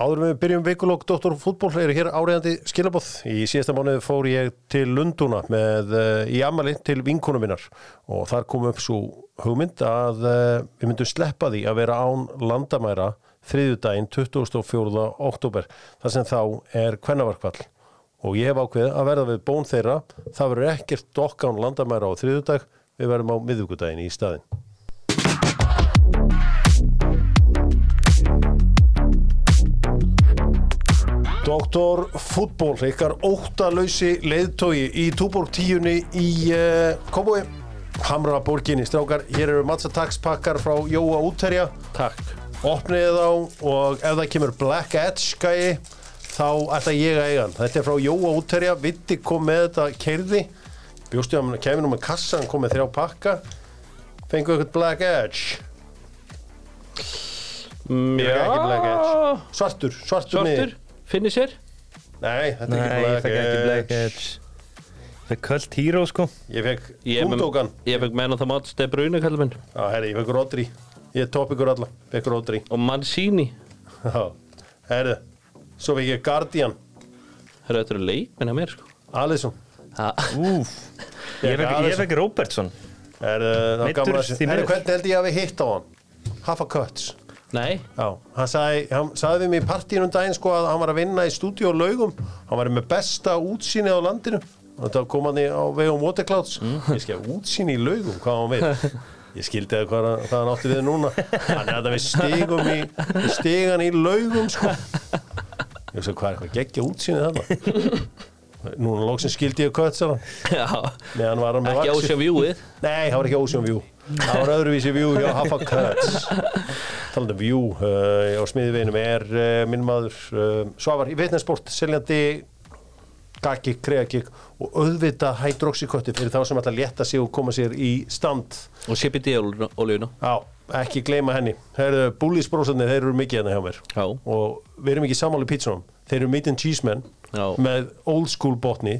Áður við byrjum vikulokk Dr. Fútból eru hér áriðandi skilabóð. Í síðasta mánuði fór ég til Lundúna með, eh, í amali til vinkunum minnar og þar kom upp svo hugmynd að eh, við myndum sleppa því að vera án landamæra þriðjudaginn 24. oktober þar sem þá er kvennavarkvall og ég hef ákveðið að verða við bón þeirra það verður ekkert okk án landamæra á þriðjudag við verðum á miðvíkudaginn í staðinn. Doktor Fútból, ykkar óttalausi leiðtói í Túborg 10 í uh, Kóboi, Hamra borginni, strákar, hér eru matsatakspakkar frá Jóa útterja, Takk opniði þá og ef það kemur Black Edge gæi, þá ætla ég að eiga hann. Þetta er frá Jóa útterja, Vitti kom með þetta kerði, bjóstu að hann kemur nú með kassa, hann kom með þrjá pakka, fengu eitthvað Black Edge, mm, Ég er ekki Black Edge svartur, svartur, Svartur, miður. finnir sér Nei, þetta er ekki Nei, ég Black fekk ekki Black Edge. Edge Það er Cult Hero sko Ég fekk Ég er með- Búndókan. Ég fekk menn á það matst eða bruna kallum minn Já, herri, ég fekk Rodri Ég top ykkur alla, fekk Rodri Og Mancini Já, herri Svo fekk ég Guardian, Herra, þetta eru leikmenn að mér sko Alisson Ha, Úf Ég fekk, ég fekk Robertson Herri, það var Meiddur, gaman að sé því miður. Herri, hvernig held ég að við hitt á hann? Hafa Cuts Nei, Já, hann sagði, hann sagði við mig í partíinu um daginn sko að hann var að vinna í stúdíu og laugum Hann var með besta útsýni á landinu og þá kom hann í, á vegum Waterclouds Ég skil, útsýni í laugum, hvað á hann við? Ég skildi að hvað, hann- hvað hann átti við núna Þannig að við stigum í, við stigan í laugum sko Ég veist hvað er eitthvað geggja útsýnið þarna Núna loksins skildi ég kötsara já, meðan var hann með ekki vaxið. ásjá vjúið Nei, það var ekki Ocean View Það var öðruvísi View hjá Haffa Cuts Talandi um View uh, á smiðiveginum er uh, minn maður uh, Svavar í vitnesport seljandi gagik, kreagik og auðvita hydroxykötti fyrir þá sem ætla að létta sig og koma sér í stand Og CBD olíuna Já, ekki gleyma henni Herðu, búlísbrósarnir, þeir eru mikið henni hjá mér Já. Og við erum ekki sammáli pítsunum Þeir eru meat and cheese men Já. Með old school botni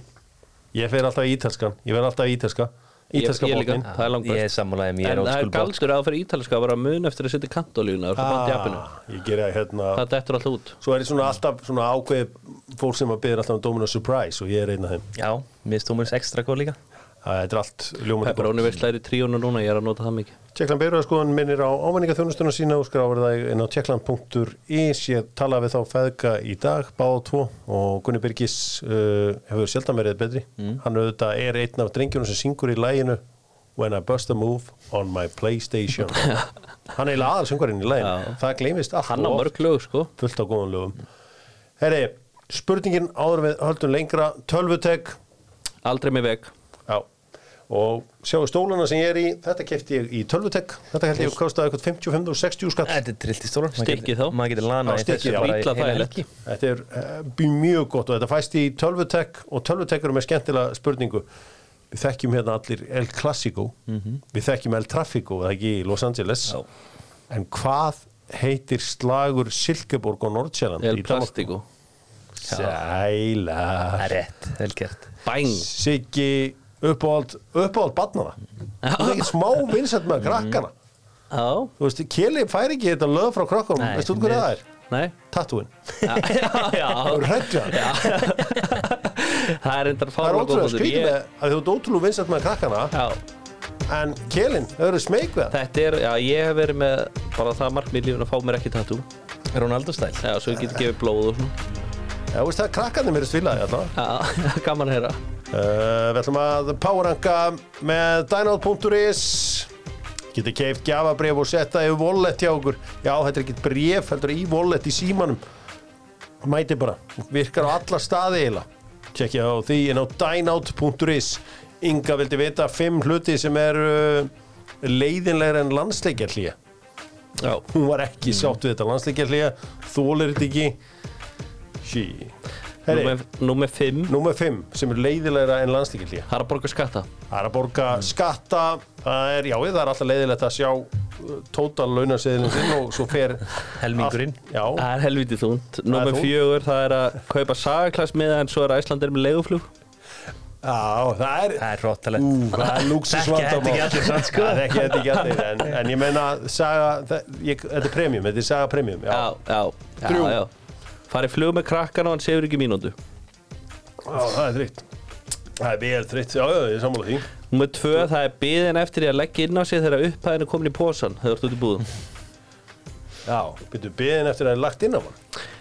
Ég fer alltaf í ítalskan Ég fer alltaf í ítalska Ég- Ítalska ég líka. botnin Það er langbest. Ég er sammálaðið mér En old það er school bot galdur að það fyrir ítalska að vera mun eftir að setja kantolíuna Það er bandi sko, appinu Ah, Ég ger það hérna Það dettur alltaf út Svo er ég svona alltaf svona ákveð fólk sem að byrja alltaf um Domino Surprise og ég er einn af þeim Já, mér stómurins ekstra góð líka Það er allt ljómandi gott. Pepperoni veistlæri tríónu núna, ég er að nota það mikið Tjekkland Beiröðarskoðan minnir á ámenningaþjónustuna sína og skráfur það inn á tjekkland.is ég tala við þá feðga í dag báða tvo og Gunni Birgis uh, hefur sjaldan verið betri Mm. hann auðvitað er einn af drengjunum sem syngur í læginu When I Bust a Move on my Playstation hann er eiginlega aðalsöngvarinn í læginu Já. það gleymist allt Hann á of oft. mörg lög, sko fullt á góðan lögum Herri, spurningin áður en við höldum lengra tölvutek Aldrei með veg Já, og sjáu stólana sem ég er í, þetta kefti ég í tölvutek, þetta held ég að kostaði eitthvað 55 og 60 skatt. Þetta er trillt í stóra Stykkið þá. Maður getur Já, lana í stykkið, þessu já. bara í Ítla heila þægilegt. helgi. Þetta er uh, mjög gott og þetta fæst í tölvutek og tölvutek eru með skemmtilega spurningu. Við þekkjum hérna allir El Clasico, við þekkjum El Trafico, það ekki í Los Angeles. Mhm. Já. En hvað heitir slagur Silkeborg og Nordsjælandi? El Plastico Það Sæla. er rétt, vel gert Bang Siggi, uppáhald, uppáhald barnana. Þú er ekki smá vinsætt með krakkana. Já, Þú veist, Keli fær ekki þetta lög frá krökkunum, Nei, veistu þú hvernig það miður. er? nei Tattúin. Já, já, Það er hrættjan. það er Það endar er fárlega ótrúlega góð punktur. skrítið Ég- með að þú ert ótrúlega vinsætt með krakkana, Já, en Kelin, þau eru smeyk við það. þetta er, já, ég hef verið með bara það markmið í lífun að fá mér ekki tattoo Ronaldo stæl Já, svo ég geti gefið blóð og svona Já, þú veist það, krakkarnir mér er svilaði alltaf. Já, gaman að heyra Uh, við ætlum að poweranga með dynote.is. Getið keift gjafabref og setta í wallet hjá okkur. Já, þetta er ekkert bref, heldur í wallet í símanum. Mæti bara, virkar á alla staði eiginlega. Tjekkja á því en á dynote.is. Inga vildi vita fimm hluti sem eru uh, leiðinlegra en landsleikjarlíja. Já, hún var ekki sátt við þetta landsleikjarlíja þólir þetta ekki sí Heri, númer, númer 5 Númer 5 sem er leiðilegra en landsleikjarlíja Það er að borga skatta Það er að borga skatta það er, Já, það er alltaf leiðilegt að sjá uh, tótal launaseðilin sinn og svo fer Helmingurinn. allt- Já, Það er helviti þúnt Númer þungt. 4, það er að kaupa sagaklassmiða en svo er Æslandir með leiguflug já, það er Það er Ú, róttalegt það er Þekkja þetta lúksusvandamál ekki allir samt, sko. Það er ekki þetta ekki allir en, en ég meina, saga, það, ég, þetta er premium Þetta er saga premium já. Já, já, já, Þrjú. já farið flug með krakkan og hann sefur ekki mínútu Já, það er þreytt. Það er vel þreytt, já, já, ég er sammála því. Númer tvö, það er biðin eftir því að leggja inn á sig þegar upphæðin er komin í posan þegar þú ert út í búðum Já. Byttu beðin eftir að það er lagt inn á hann.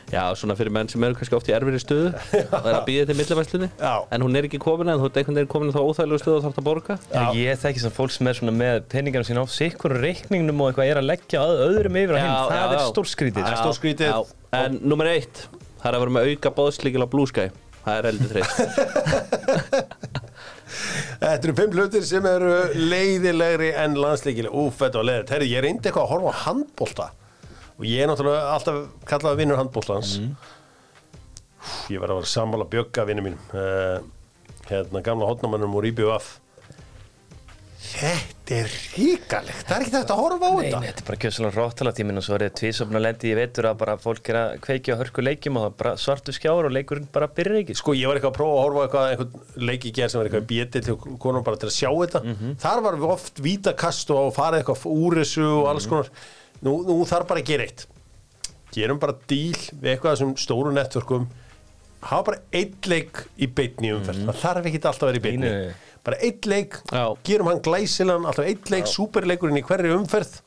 Já, svona fyrir menn sem eru kannski oft í erfinni stöðu og er að býða til millivæslunni Já. en hún er ekki komin en þú ert einhvern veginn komin í þá óþægilegu stöðu og þarf að borga Já. Ég þekki sem fólk sem er svona með peningarnum sína á sikkur reikningnum og eitthvað er að leggja að öðrum yfir á Já, hinn, það já, er já. stórskrítið Já. sko. stórskrítið. Já, En nummer eitt, það er að vera með auka bóðslíkil á Blue Sky Það er heldur þreitt Þetta eru fimm hlutir sem eru leiðilegri en landsleikileg. Úf, þetta var leiðilegt. Herri, ég reyndi eitthvað að horfa á handbólta og ég er náttúrulega alltaf kallaði vinnur handbóltans. Úff, Ég verði að vera sammála bjögga vinnu mínum. Uh, hérna, gamla hotnamannum úr IBUF. Þetta er ríkalegt. Það er ekki þetta að horfa á Nei, nei, þetta. þetta er bara gjössalega róttala tímin og svo er þetta tvísöfn að lendi, ég veitur að bara fólk er að kveikja á hörku leikjum og það er bara svartu skjáur og leikurinn bara byrjar ekki sko. Sko, ég var eitthvað að prófa að horfa á eitthvað, einhvern leik í gerð sem var Mhm. eitthvað bjetið til konum bara til að sjá þetta. Þar var við oft vítakast og farið eitthvað úr þessu og alls Mhm. konar. Nú, nú þarf bara að gera eitt. Gerum bara díl við eitthvað af þessum stóru nettverkum. Hafa bara eitt leik í beitni umferð. Það þarf ekki alltaf að vera í beitni. Mhm. Nei, nei, nei. Bara eitt leik, Já. gerum hann glæsilegan, alltaf eitt leik, superleikurinn í hverri umferð.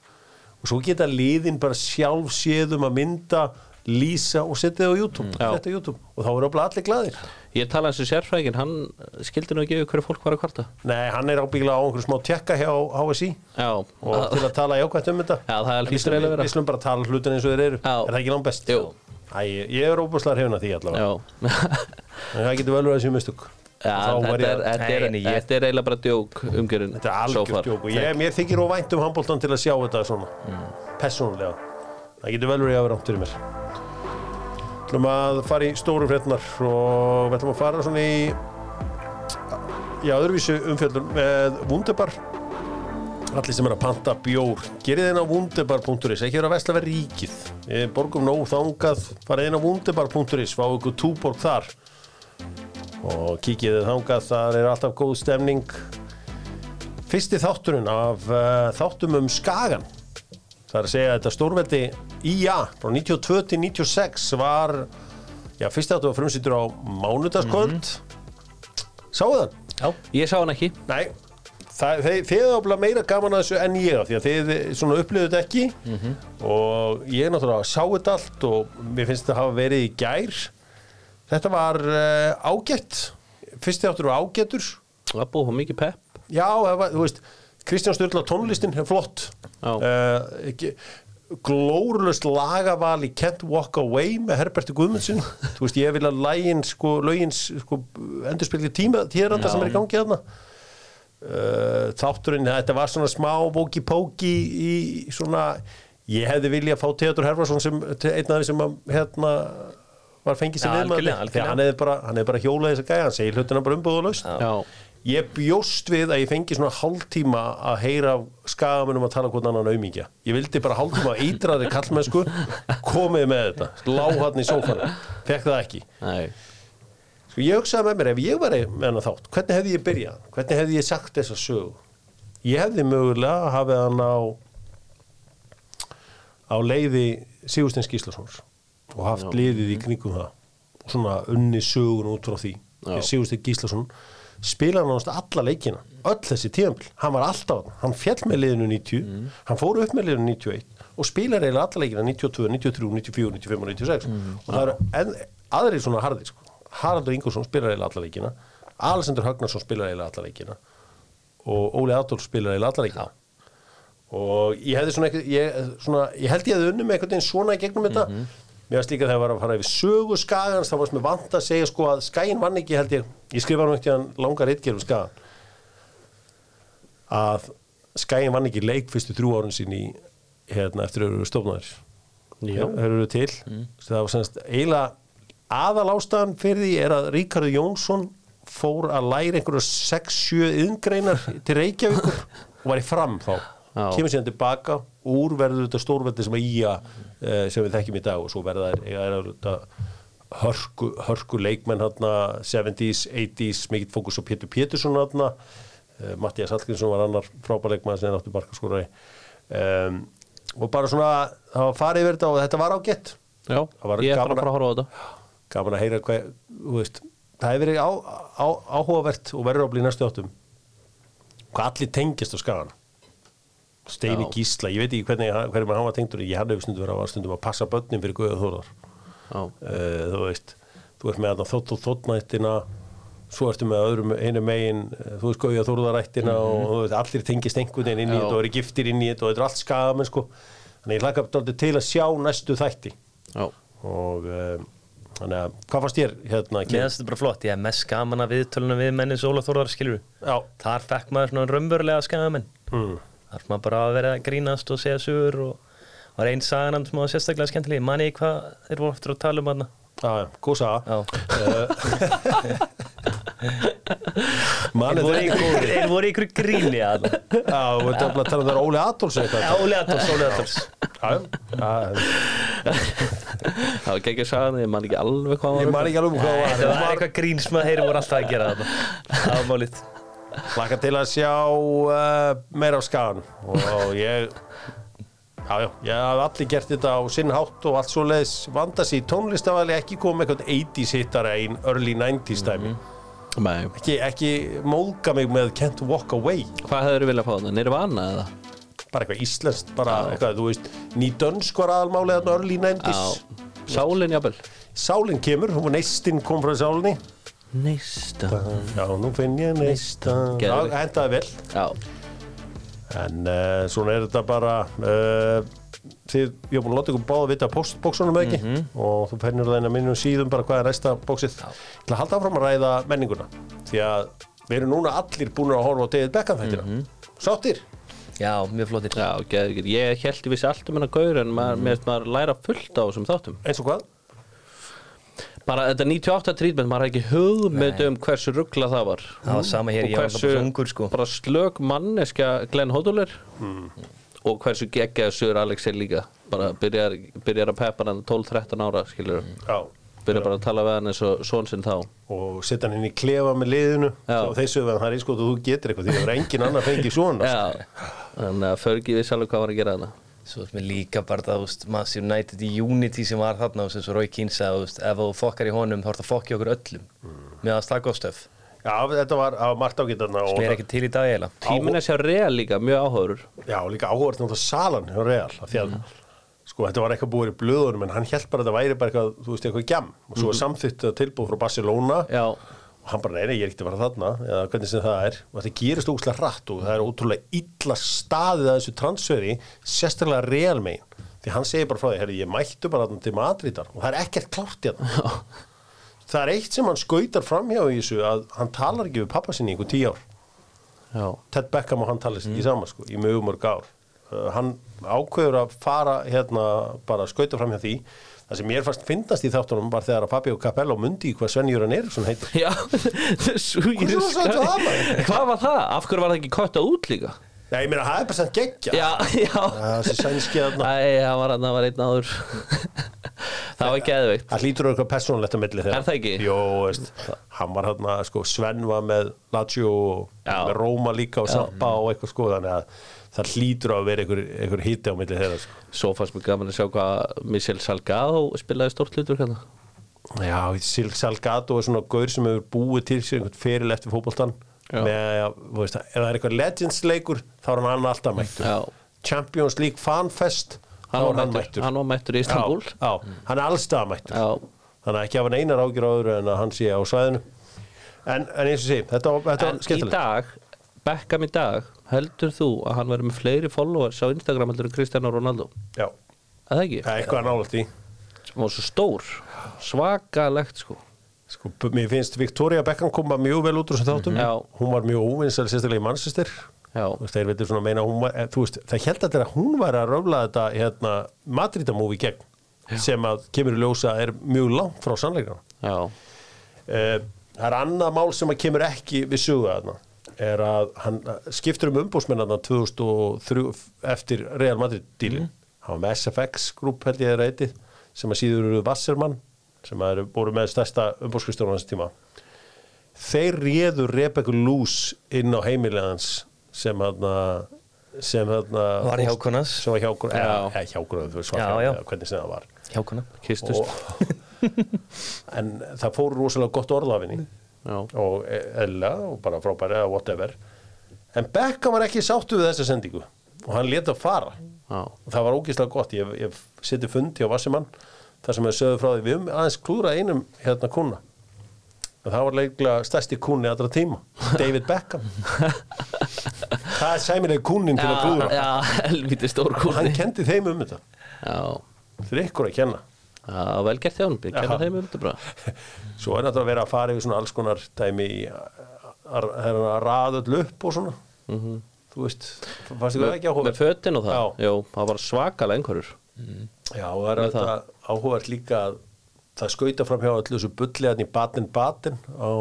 Og svo geta liðin bara sjálfséðum að mynda, lýsa og setja það á YouTube. Já. Þetta á YouTube. Og þá eru bara allir glaðir. Ég talaði eins og sérfræðingin, hann skildi nú ekki yfir hverju fólk var að kvarta Nei, hann er ábyggilega á einhverju smá tjekka hjá HSI Já, og að- til að tala jákvæmt um þetta Já, það En við hlýtur slum- eiginlega að vera. Við slum bara tala hlutin eins og þeir eru Já. Er það ekki langt best? Jú. Æ, ég er óbúslega hrifin af því allavega já En það getur vel verið að séu mistök Og Já, þá þetta var ég er, að- þetta, er, Nei, nei, ég- þetta er eiginlega bara djók umgjörinn Þetta er algjört djók og ég, mér þykir óvænt um handbóltan til að sjá þetta svona Persónulega Það getur vel verið að vera átt fyrir mér Þú ætlum að fara í stóru fréttnar og við ætlum að fara svona í Já, öðruvísu umfjöldum með Wunderbar Allir sem er að panta bjór Gerið þeim á wunderbar.is Ekki vera að vesla verið ríkið Eh, Borgum nóg þangað Farið þeim á wunderbar.is Fá ykkur túborg þar Og kíkið þeim þangað Þar er alltaf góð stemning Fyrsti þátturinn af uh, þáttum um Skagan Það er að segja að þetta stórveldi IA frá 92 til 96 var Já, fyrsti þáttur var frumsýttur á mánudagskvöld Sáu þann? Ég sá hann ekki Nei, það, þeir, þeir er áfla meira gaman að þessu en ég af því að þeir svona upplifðu þetta ekki og ég náttúrulega sá þetta allt og mér finnst þetta hafa verið í gær Þetta var uh, ágætt fyrsti áttur var ágættur Það búið hún mikið pepp Já, það var, þú veist Kristján Sturla tónlistin er flott Já. uh, ekki- glórulaust lagaval í Can't Walk Away með Herberti Guðmundsson þú veist, ég vil að lægin, sko, lögin sko, endurspegli tíma, tíðranda sem er í gangi þarna uh, þátturinn, þetta var svona smá bóki-póki í svona ég hefði viljað fá Theodor Herfarsson sem einn af þeim sem að, hérna var fengið sem Já, viðmaður algjörlega, því að algjörlega. hann hefði bara, hann hefði bara hjólaði þess að gæja hann segir hlutina bara umbúðulaust Já, Ég bjóst við að ég fengi svona hálftíma að heyra skagamennum að tala hvort annan auðmíkja. Ég vildi bara hálftíma að eitraði kallmennsku, komið með þetta, lá hann í sófanum, fekk það ekki. nei Sko ég hugsaði með mér, ef ég var með hana þátt, hvernig hefði ég byrjað? Hvernig hefði ég sagt þessa sögu? Ég hefði mögulega hafið hann á, á leiði Sigursteins Gíslasons og haft liðið í kringum það og svona unni sögun út frá því. Já. Sigursteins Gíslason spilaði náttúrulega alla leikina, öll þessi tíðanbíl, hann var alltaf, þarna. hann fjall með liðinu 90, hann fór upp með liðinu 91 og spilaði eiginlega alla leikina 92, 93, 94, 95 og 96 og það eru enn, aðrir svona harðir sko. Haraldur Ingolson spilaði eiginlega alla leikina, Alessandur Högnarsson spilaði eiginlega alla leikina og Óli Adolf spilaði eiginlega alla leikina og ég hefði svona, eitthvað, ég, svona ég held ég hefði unni með einhvern veginn svona í gegnum þetta Mhm. mér varst líka þegar ég var að fara yfir sögu skagans þá varst mér vant að segja sko að skaginn vann ekki held ég, ég skrifa nú ekki hann langar reitgerð um skagan að skaginn vann ekki leik fyrstu þrjú árun sín í hérna eftir að eru stofnaðir Já. Mm. þeir eru til það var semst eiginlega aðalástaðan fyrir því er að Ríkarður Jónsson fór að læra einhverju 6-7 yðngreinar til Reykjavíkur og var í fram þá Já. kemur síðan tilbaka úr verður þetta stórveldi sem að íja eh, sem við þekkjum í dag og svo verða þær- eiga þær þetta hörku, hörku leikmenn hana, 70s, 80s, mikill fókus á Pétur Pétursson hana uh, Mattias Hallgrímsson var annar frábærleikmann sem er áttu barkaskóraði um, og bara svona það var farið yfir þetta og þetta var ágætt Já, Það var ég er bara gaman að að- fara að horfa á þetta gaman að heyra hvað, þú veist, það hefur verið á, á, áhugavert og verður að bli í næstu áttum hvað allir tengist á skagan Steini Já. Gísla, ég veit ekki hvernig hann- hverjum hann var tengdur, ég hann hefur stundum verið að stundum að passa börnin fyrir Guða Þórar Já, uh, þú veist, þú ert með þarna þótt og þóttnættina svo ertu með öðrum einu megin eh, þú veist, gauja þórðarættina og þú veist, allir tengist einhvern veginn inn í Mhm. Já. þetta og eru giftir inn í þetta og þetta er allt skagamenn sko þannig ég hlaka dálítið til að sjá næstu þætti já, og um, þannig að, hvað fannst þér hérna Mér Kim? finnst þetta bara flott, ég hef mest gaman að viðtölunum við menni Sóla Þórðar skilur Já, Þar fekk maður svona raunverulega skamenn mm. Þar maður bara að vera að grínast og segja sögur og var einn sagan sem var sérstaklega skemmtileg Manni hvað þeir voru eftir að tala um hana Já, Eh, já, góð saga Já, þeir Manið voru er í einhverju- þeir voru í ykkur gríni að það Já, þú veit að tala um það er Óli Adolfs eitthvað Já, Óli Adolfs, Óli Adolfs Já, já, það var ekki að sagða það, ég man ekki alveg hvað ég var man ekki alveg um hvað Það það var var eitthvað grín sem að þeir voru alltaf að gera þetta Það var málið Laka til að sjá uh, meira af skagan og ég Já, já, ég haf allir gert þetta á sinn hátt og allt svo leiðis vanda sig í tónlistavali ekki koma með eitthvað 80s hittara einn early 90s dæmi Mhm. Nei, ekki, ekki móðga mig með Can't Walk Away hvað hefur viljað fá það? Nirvana eða? bara eitthvað íslenskt, bara eitthvað, þú veist nýdönsk var aðalmálið þarna early 90s Já, sálinn jafnvel Sálinn kemur, hún var neistinn kom frá sálinni Neista Já, nú finn ég neistan Já, Geðveikt. hendaði vel Já, En uh, svona er þetta bara uh, Þið, ég er búin að láta ykkur báða vita postbóksunum ekki Mhm. og þú fennir það inn að minnum síðum bara hvað er næsta bóksið til að halda áfram að ræða menninguna því að við erum núna allir búin að horfa á David Beckham þættina Mhm. Sáttir? Já, mjög flottir já, geðvikið Ég held ég vissi allt um hennar gaur en maður, mm. maður læra fullt á þessum þáttum Eins og hvað? Bara þetta 98 trítment, maður hafði ekki hugmynd um hversu ruggla það var Það var sama hér, Og ég var alltaf hversu- bara ungur sko Bara slök manneska Glenn Hoduler og hversu geggjaðu sögur Alex er líka bara byrjar, byrjar að peppa hann 12-13 ára skilur, Hmm. Já byrjar bara að tala við hann eins og són sinn þá og setja hann inn í klefa með liðinu Já. og þessu ef það er í skotu þú getur eitthvað því það er engin annar fengið svona Já, þannig að Fergie vissi alveg hvað var að gera þarna Svo erum við líka bara það, þú veist, Mass United Unity sem var þarna, þú veist, svo Rói Kín sagði, þú veist, ef þú fokkar í honum, þá ertu að fokka í okkur öllum. Með að stakka á stöf. Já, þetta var á margt ágætana Sem er ekki til í dag eiginlega. Tíminn er sér real líka, mjög áhörur Já, og líka áhverð náttúrulega salan hjá Real af því að, sko, þetta var eitthvað búið í blöðunum en hann held bara að þetta væri bara eitthvað, þú veist, eitthvað gjam og svo er samþýtt tilbúið frá Barcelona Mhm. Já, og hann bara, neina, ég er ekkert að fara þarna eða hvernig sem það er, og þetta gerist ógustlega rætt og það er ótrúlega illa staðið að þessu transferi, sérstaklega Real megin, því hann segir bara frá því herri, ég mættu bara þarna til Madridar og það er ekkert klárt í þetta það er eitt sem hann skautar framhjá í þessu að hann talar ekki við pappa sinni í einhver tíu ár já, Ted Beckham og hann talist ekki saman sko, í mjög mörg ár uh, hann ákveður að fara hérna bara skauta fram hjá því það sem mér fannst finnast í þáttunum var þegar að Fabio Capello mundi í hvað Sven Júran Eriksson heitir já Þessu Hversu var það þetta var, maður? Hvað var það? Af hverju var það ekki kött út líka? Nei, ég meina, það er bara sem geggja Já, já það sé sænski þarna Æ, það var hann, það var einn áður Það var geðveikt það hlýtur auðvitað persónulegt að milli þeirra Er það ekki? Jó, veist, hann var hérna, sko, Sven var með Lazio og Já. með Róma líka og Sappa og eitthvað sko þannig að það hlýtur að vera einhver, einhver hiti á milli þeirra sko. Svo fannst mér gaman að sjá hvað Michel Salgado spilaði stórt hlutur hérna Já, Silk Salgado er svona gaur sem hefur búið til sér einhvern feril eftir fótboltan Já. með að, þú veist, ef það er eitthvað Legends leikur þá er hann annar alltaf mættur Já. Champions League fanfest þá Hann er var mættur, hann var mættur í Istanbul já, já, hann er allstað mættur Já, þannig að ekki hafa neinar ágjur á öðru en að hann sé á svæðinu en, en eins og sé, þetta var, þetta var en í skemmtilegt dag Beckham í dag, heldur þú að hann verður með fleiri followers á Instagram heldur en Cristiano Ronaldo Já, að það ekki? það er eitthvað nálægt í Sem var svo stór, svakalegt sko Sko, b- mér finnst Victoria Beckham koma mjög vel út úr sem þáttum, Já. hún var mjög óvinnsal sérstaklega í mannsistir Já, Þú veist, þeir veitir svona að meina að hún var, eh, þú veist, það held allir að hún var að röfla þetta hérna, Madridamófi gegn sem að kemur í ljósa er mjög langt frá sannleikann já, uh, það er annað mál sem að kemur ekki við sögða þarna er að hann skiptur um umbúsmennarna 2003 eftir Real Madrid dílin Mhm. hann var með SFX grúp held ég þeirra eitið sem að síður eru Vassermann sem að eru voru með stærsta umbúskristunum hans tíma þeir réðu Rebecca Luz inn á heimilegans sem hérna sem hérna Var hjá konas. sem var hjákur, Já. eða hjákur, þú veist, svartjá, Já, já. eða hvernig sem það var hjákona kistust og, en það fór rosalega gott orð af henni Já. og eðla og bara frábæri eða whatever en Beckham var ekki sáttu við þessa sendingu og hann leta fara Já. og það var ógislega gott, ég, ég seti fund hjá Vassimann þar sem við sögðu frá því við um aðeins klúra einum hérna kuna og það var leiklega stærsti kunni allra tíma, David Beckham það er sæmileg kunnin til að klúra, já, helviti stór hann kúrni kendi þeim um þetta Já, þeir eru ykkur að kenna já velgert hjá hann Kenna þeim um þetta bara Svo er náttúrulega að vera að fara yfir svona alls konar dæmi í að raða öll upp og svona Þú veist, fannst þið hvað ekki Mhm. Með áhugavert? fötin og það, Já. já, það var svakalega einhverjur Já, og það er Með þetta áhugavert líka að það skauta fram hjá öllu þessu bulliðan í Baden-Baden á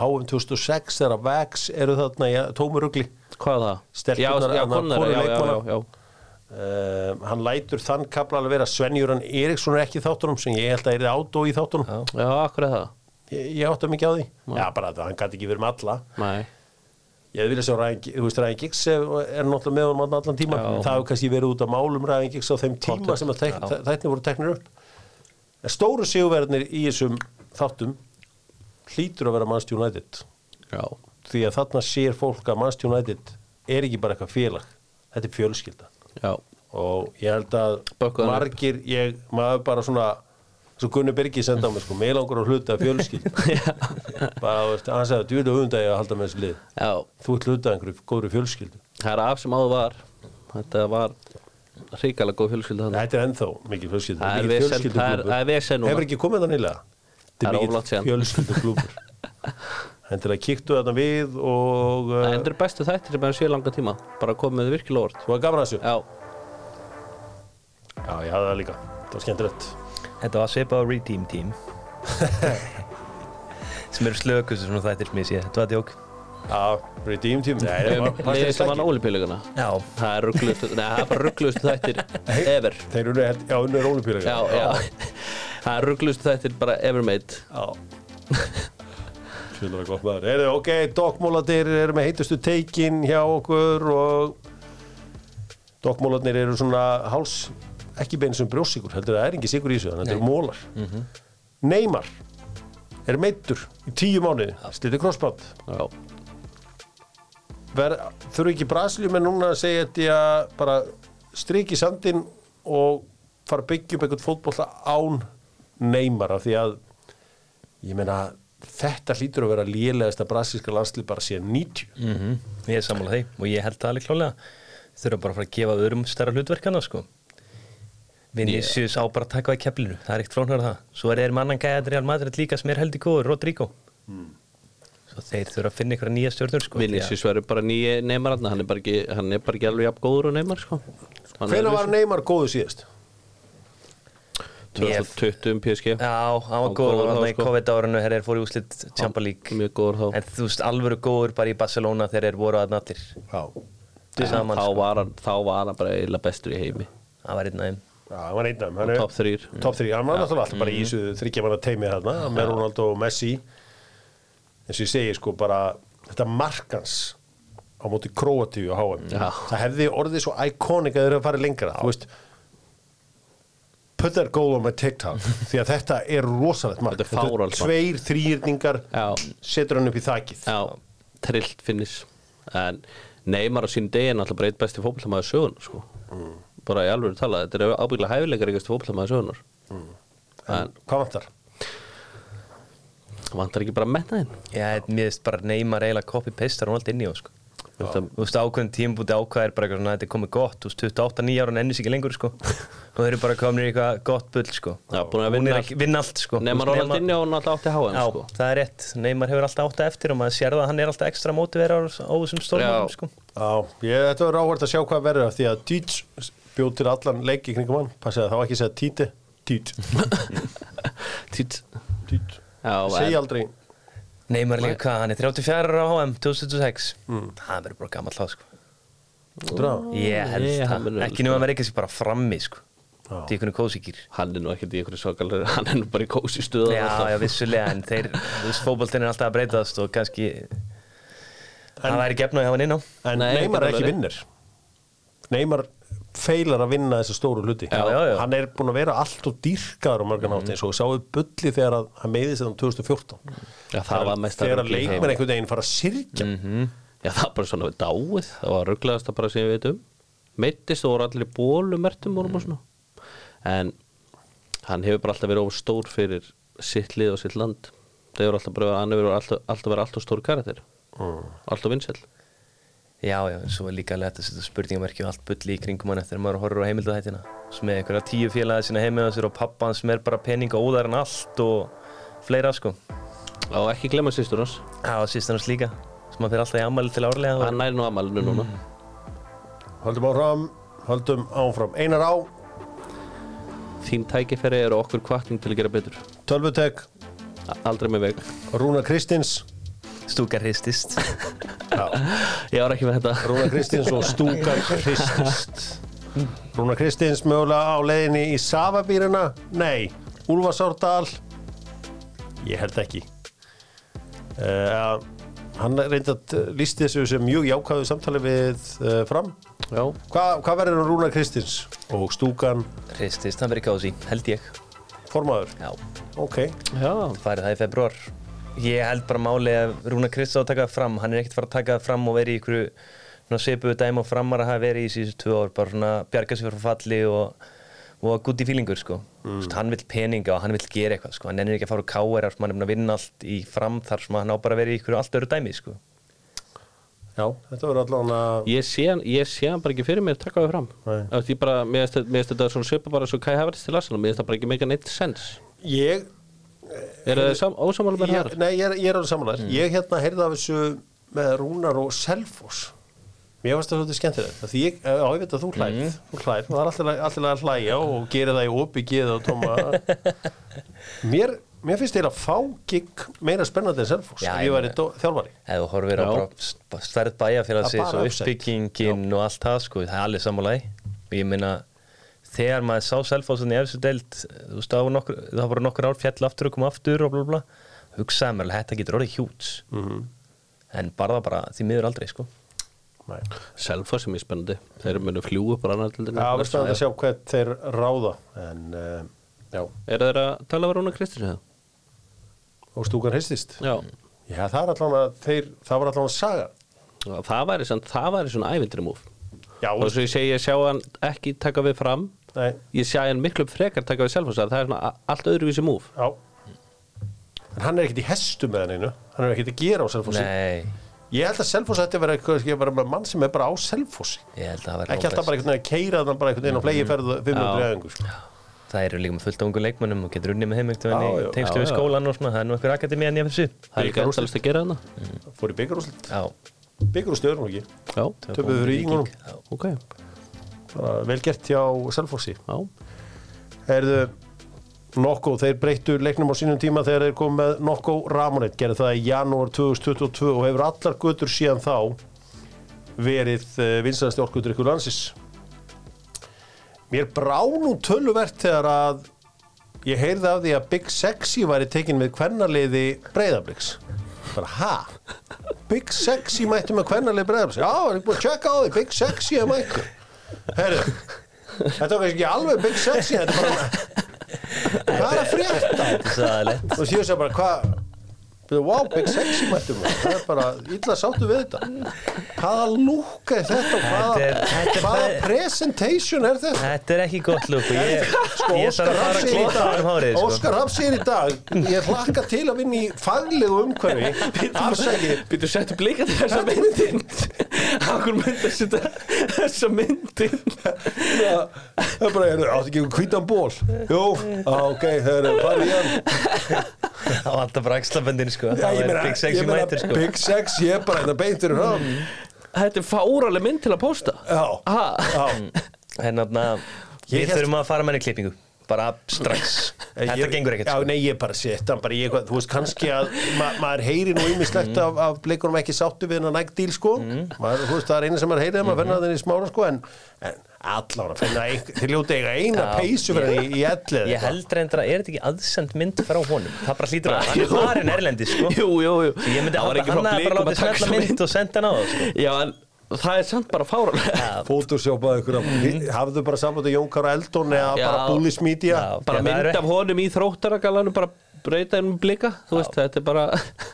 HM 2006 þegar Vax eru þarna í tómurugli Hvað var það? Já, Stelpurnar, já, annar konar, hvoru já, já, já, leikmanna. já um, Hann lætur þann kapla alveg vera Svenjuran Eriksson er ekki í þáttunum sem ég held að er átó í þáttunum Já, akkur er það Ég, ég átta mikið á því Já, bara þetta, hann gæti ekki verið með alla Nei, Ég vilja sjá Ryan, Giggs- þú veist, Ryan Giggs er er náttúrulega með honum allan tíma Já. það hefur kannski verið út af málum Ryan Giggs á þeim tíma Pottet, sem að tek- þæ- þættirnir voru teknir upp en stóru sigurverðinir í þessum þáttum hlýtur að vera Manchester United já, því að þarna sér fólk að Manchester United er ekki bara eitthvað félag þetta er fjölskylda já og ég held að Bökkuðu hann margir, ég, maður bara svona svo Gunni Birgi senda á mig sko, með langar að hluta fjölskyld bara, þú veist, hann sagði, þú vilja undagi að halda með þessu lið Já, þú ert hlutað einhverju góðri fjölskyldu það er af sem áður var Þetta var ríkalega góð fjölskylda hann Þetta er ennþá mikið fjölskyldu Það er mikill vesen- fjölskylduklúbbur. það er- það er vesen núna. Hefur ekki komið það nýlega Það er ólangt síðan. fjölskylduklúpur En til að kíktu þarna við og uh, Það endur bestu þættir sem hefur séð langan tíma Bara komið virkilega orð Þú var gaman að þessu Já, Já, ég hafði það líka, það var skemmtilegt Þetta var svipað á Redeem Team sem eru slökustu svona þættir sem ég sé Þetta var djók Já, redeem team Nei, það var- Nei, fannst sem þér vann ekki. ólipíleguna Já Það er rugglustu, nei, það er bara rugglustu þættir ever Þeir eru held, já, unnur ólipílega Já, já Það er rugglustu þættir bara ever made já. Sjöldra gott maður Eru, ok, dokkmólatir eru með heitustu teikin hjá okkur og dokkmólarnir eru svona háls, ekki bein sem brjósíkur heldur það er ekki sigur í þessu, þannig að þetta eru mólar Neymar er meittur í tíu mánuði slitið krossband Já, Ver, þurfi ekki Brasiljum en núna að segja þetta í að bara striki sandin og fara að byggja upp einhvern fótbolla án Neymar af því að ég meina þetta hlýtur að vera lélegasta brasilska landslið bara síðan 90 Mhm. Ég er sammála því og ég held það alveg klálega þurfa bara að fara að gefa öðrum stærra hlutverkana sko Vinicius á bara að taka á í keflinu, það er ekkert flóknar það svo er þeir með annan gæðan Real Madrid líka sem er held í góður, Rodrigo svo þeir þurfa að finna ykkur nýja stjórnur sko Hmm. Vinicius verður bara nýja neymar hann hann er bara ekki, hann er bara ekki alveg jafn góður og neymar sko Hann er Hvenær var Neymar góður síðast? 2020 um PSG Já, hann var Og góður góður hann þá, í sko. COVID-árinu þegar þeir fóru í úslit Champa League Mjög góður þá en þú veist alvöru góður bara í Barcelona þegar þeir voru að nattir Já, saman Þá sko. var hann, þá var hann bara eiginlega bestur í heimi það var einn aðeim hann var einn af þeim, hann Og er- topp þrír. Mm. Top 3, hann var náttúrulega alltaf Mm. bara í þessu þryggjamanna teimi þarna með Ronaldo og Messi eins og ég segi sko bara þetta markans á móti Kroatíu á HM Já. það hefði orðið svo iconic að þeir eru að fara lengra þú veist put that goal on my TikTok því að þetta er rosalegt mark Þetta er fáránlegt mark. tveir þrýrningar Já. setur hann upp í þakið Já, trillt finnis En Neymar á sínu degi er náttúrulega bara eitt besti fótboltamaður sögunar sko. Bara í alveg tala, þetta er ábyggilega hæfileikar eitthvað fótboltamaður sögunar en, hvað vantar? Vantar ekki bara að metna þinn Já, mér veist bara Neymar eiginlega copy-paste hann alltaf inn í hún sko. Þetta- Þú veist ákveðin tímbúti ákvæðir bara eitthvað svona þetta er komið gott, þú veist 28-9 ára en ennist ekki lengur sko og þeir eru bara komin í eitthvað gott bull sko Já, búin að Hún vinna er ekki, vinna allt sko Neymar Þú veist, Ronaldinho og náttúrulega átti háan Já, sko. það er rétt, Neymar hefur alltaf átta eftir og maður sér það að hann er alltaf ekstra mótiverar á þessum stórmálum Já. sko Já, ég, þetta var ráhvert að sjá hvað verður af því að Títs bjóð til allan leik í kringum hann passið að það var ekki að segja Títi Tít, Tít Tít Já, en- segja aldrei Neymar er líka hvað, hann er 34 ára á HM 2006 Það verður bara gammal þá sko Mm, Drá. Ég held Nei, hann það, verður- ekki nú að vera ekki sér bara frammi sko Já. Til einhvern kósikir hann er nú ekkert í einhverju svakalega hann er nú bara í kósi stuða Já, já, vissulega, en þeir, þú veist, fótboltinn er alltaf að breytast og kannski það væri gefn að hafa hann inn á. En Nei, Neymar er ekki ekki vinnir Neymar feilar að vinna þessi stóru hluti Já, Mhm. já, já. hann er búin að vera allt og dýrkaður á mörgan átt eins og sáu bulli þegar að, hann meiði sér um 2014 Já, það var mesta þegar að rugl í heimi. Mhm. leikmenn einhvern veginn fara að sirkja Mm. Já, það var bara svona við dáið það var rugglaðast bara sem ég veit um meittist og voru allir í bólumertum mm. og svona en hann hefur bara alltaf verið of stór fyrir sitt lið og sitt land það hefur alltaf bara, hann hefur alltaf, alltaf verið alltaf stór karakter Mm. alltaf vinsæll Já, já, en svo er líka alveg hægt að setja spurningamerki og allt bulli í kringum hann eftir að maður horfir á heimildahættina sem með einhverja tíu félaga sína heimið á sér og pappa hans sem er bara pening og óðar en allt og fleira sko og ekki glemma sýstur hans Já, og sýstan hans líka sem hann fyrir alltaf í ammæli til árlega og... hann næri nú amalinu núna höldum áfram, höldum áfram Einar á, þín tækifæri eru okkur kvartning til að gera betur Tölvutek A- aldrei með veik Rúna Kristins stúkar hristist ég var ekki með þetta Rúna Kristins og Stúkan Kristist Rúna Kristins mögulega á leiðinni í Safabýruna nei, Úlfarsárdal ég held ekki uh, hann reyndi að lísti þessu sem mjög jákvæðu samtali við uh, fram já, Hva, hvað verður um Rúna Kristins og Stúkan Hristist, hann verið kási, held ég formaður Já, ok, já, farið það í februar Ég held bara máli að Rúna Kristá taka það fram hann er ekkert fara að taka það fram og verið í ykkur svona svipuðu dæmi og framar að hafa verið í síðustu tvö ár bara svona bjarga sér frá falli og, og gutt í fílingur sko mm. hann vill peninga og hann vill gera eitthvað sko hann er ekki að fara úr káera sem hann er búin að vinna allt í fram þar sem hann á bara að vera í ykkur allt öru dæmi sko já, þetta verður allan að ég sé, hann- ég sé hann bara ekki fyrir mér taka við fram Nei. Þú veist, ég bara, mér finnst þetta- mér finnst þetta svona svipa bara svo Kai Havertz til aðsana, mér finnst það bara ekki meika neitt sens ég er það ósamála með ég, hér? nei, ég er, ég er alveg samanlega ég hérna heyrði af þessu með Rúnar og Selfoss mér varst það svolítið skemmtilegt af því ég, eh, á, ég veit að þú hlæð þú hlæð, það er alltaf- alltaf að hlæja og gera það í opi, geða og tóma mér, mér finnst þeir að fá gig meira spennandi en Selfoss Já, ef ég ég væri dó- þjálfari eða þú horfir á Já. bara stærð bæja fyrir að Það segja bara svo upset. uppbyggingin og allt það sko, það er alveg sammálaði og ég meina þegar maður sá selfásunni í efstu deild þú veist, það voru nokkur, það voru nokkur ár fjall aftur og kom aftur og bla bla bla. hugsaði mér alveg, þetta getur orðið hjúts Mhm. en bara það bara, því miður aldrei sko Nei. Selfa sem er spennandi, þeir munu fljúa bara annar til Já, við spennandi að sjá hvað þeir ráða en, uh, já, er þeir að tala var Rúna Kristins eða? og stúkan hristist Já, Já, það er allan að þeir, það var allan að saga það væri, samt- það væri svona ævindri múf Já, og svo ég segi, ég sjá hann ekki taka við fram nei, ég sjá hann miklu frekar taka við Selfoss að það er svona a- allt öðruvísi múf já En hann er ekkert í hestu með hann einu Hann er ekkert að gera á Selfossi nei, ég Ég held að Selfoss ætti að vera, eitthvað- ekki að vera með mann sem er bara á Selfossi held að það væri Ekki alltaf bara einhvern veginn að keira þannig bara einhvern veginn á flegi ferðu fimm Já. hundru eðingur það eru líka með fullt af ungu leikmönnum og getur unnið með heim Já, eitthvað já. í tengslu Já, við já. skólan og svona, það er nú einhver akademíðan í FFC það er ekki endalist að gera hana Fór í byggarúslit já, Byggarúslit öðrum ekki Já, Töpuðu fyrir Víkingum. Já, ok, Bara vel gert hjá Selfossi já, Erðu Nokko, þeir breyttu leiknum á sínum tíma þegar þeir komu með Nokko Ramonet gerði það í janúar 2022 og hefur allar götur síðan þá verið vinsanasti orkutur ykkur landsins Mér brá nú töluvert þegar að ég heyrði af því að Big Sexy væri tekin með kvennarliði breyðabliks bara ha? Big Sexy mætti með kvennarliði breyðabliks já, er ekki búin að tjekka á því, Big Sexy er mættu Herru, þetta var kannski ekki alveg Big Sexy þetta er bara hvað er að frétta? það er lett og séu sér bara hvað Byrðu, wow, Big Sexy mættum við það er bara illa sáttu við þetta hvaða lúka er þetta og Þetta hvaða, er- þetta er- hvaða presentation er þetta Þetta er ekki gott lúk og ég, sko, ég þarf Óskar að fara Raff að segir í klippa um dag hárið sko. Óskar Raff segir í dag ég hlakka til að vinna í faglegu umhverfi afsæki Býtu settu blika til þessa myndin Akkur myndi að setja þessa myndin það er bara, er það ekki einhvern hvítan ból jú, á, ok, það er farið í hann Það var alltaf bara axlaböndin sko Já, Það ég var meina, Big ég Sexy meina, mætur sko Big Sex, ég er bara þetta beintur um Þetta er fáraleg mynd til að posta já, Ha, já Hennan að Ég hérna, við hélt- þurfum að fara með henni í klippingu Bara strax Þetta Ég- gengur Já, ekkert sko nei, ég bara sé þetta bara, ég, þú veist, kannski að ma maður heyri nú Mhm. ýmislegt af, af bleikunum ekki sáttu við hennar nægt díl, sko maður, þú veist, það er eina sem maður heyri þegar Mhm. maður finna þenni í smára, sko, en, en allan að finna ein- þeir ljóta eiga eina Já. peysu fyrir henni í, í ellið Ég held reyndra, er þetta ekki aðsend mynd frá honum? Það bara hlýtur að hann er farin erlendi sko jú, jú, jú Ég myndi Það var að ekki hann frá að bara blikum láta að taka snella mynd mynd og senda hann á það sko Já, en það er samt bara fáralega Photoshopaðu ykkur af- Mhm. Hafðu bara samvættu Jónkar Eldon eða Já. bara Bullis Media Já. bara það mynd er- af honum í þróttaragalanum bara breyta hennum blika þú veist, þetta er bara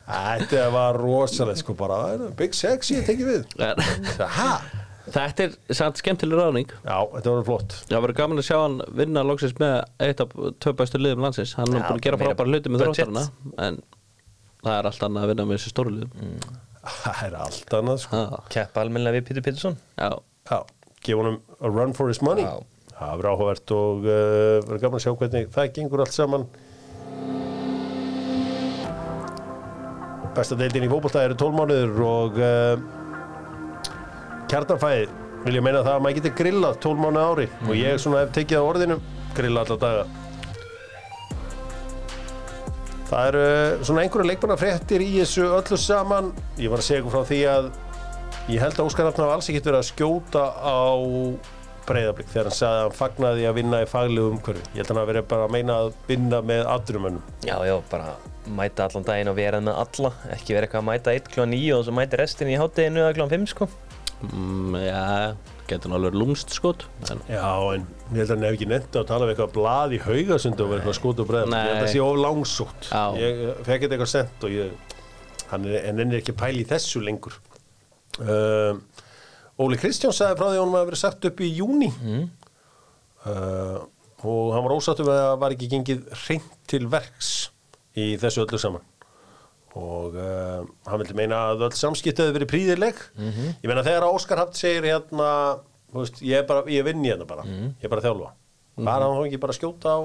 Þetta var rosalegt sko bara Big Sexy, tekið við En- Hæ? þetta er samt skemmtileg ráðning Já, þetta var flott það verður gaman að sjá hann vinna loksins með eitt af töpæstu liðum landsins hann er Já, búin að gera meira frábæra hluti með budget. þróttarana en það er allt annað að vinna með þessu stóru liðum mm. Það er allt annað sko Keppa almennilega við Pítur Pítursson já, Já, gefa honum a run for his money Já. Það verður áhugavert og uh, verður gaman að sjá hvernig það gengur allt saman Besta deildin í fótbolta eru 12 mánuður og uh, kjartanfæði vil ég meina það að maður getur grillað 12 mánuð á ári og ég svona hef tekið á orðinu grilla alla daga Það eru uh, svona einhverja leikmannafréttir í þessu öllu saman ég var að segja ykkur frá því að Ég held að Óskar Rafn hafa alls ekkert verið að skjóta á breyðablík þegar hann sagði að hann fagnaði að vinna í faglegu umhverfi. Ég held að hann hafi verið bara að meina að vinna með aðrumönnum. Já, já, bara mæta allan daginn og vera með alla ekki vera eitthvað að mæta 1 kl. 9 og svo mæta restin í hátteginu eða kl. 5 sko mm, já getur hann alveg lúmst skot en Já, en ég held að hann hef ekki nefnt að tala um eitthvað blað í haugasund og verið eitthvað að skjóta á breyðablík. Ég held að Nei. það sé of langsótt. Já. Ég eh, fekk eitthvað eitthvað sent og ég, hann er, en henni er ekki að pæla í þessu lengur. Um, Óli Kristján sagði frá því að honum hafi verið sagt upp í júni. uh, og hann var ósattur við að það var ekki gengið hreint til verks í þessu öllu saman og uh, hann vildi meina að öll samskipti hefði verið príðileg ég meina þegar Óskar Haft segir hérna þú veist, ég, er bara, ég vinn í hérna bara ég er bara að þjálfa var hann þá ekki bara að skjóta á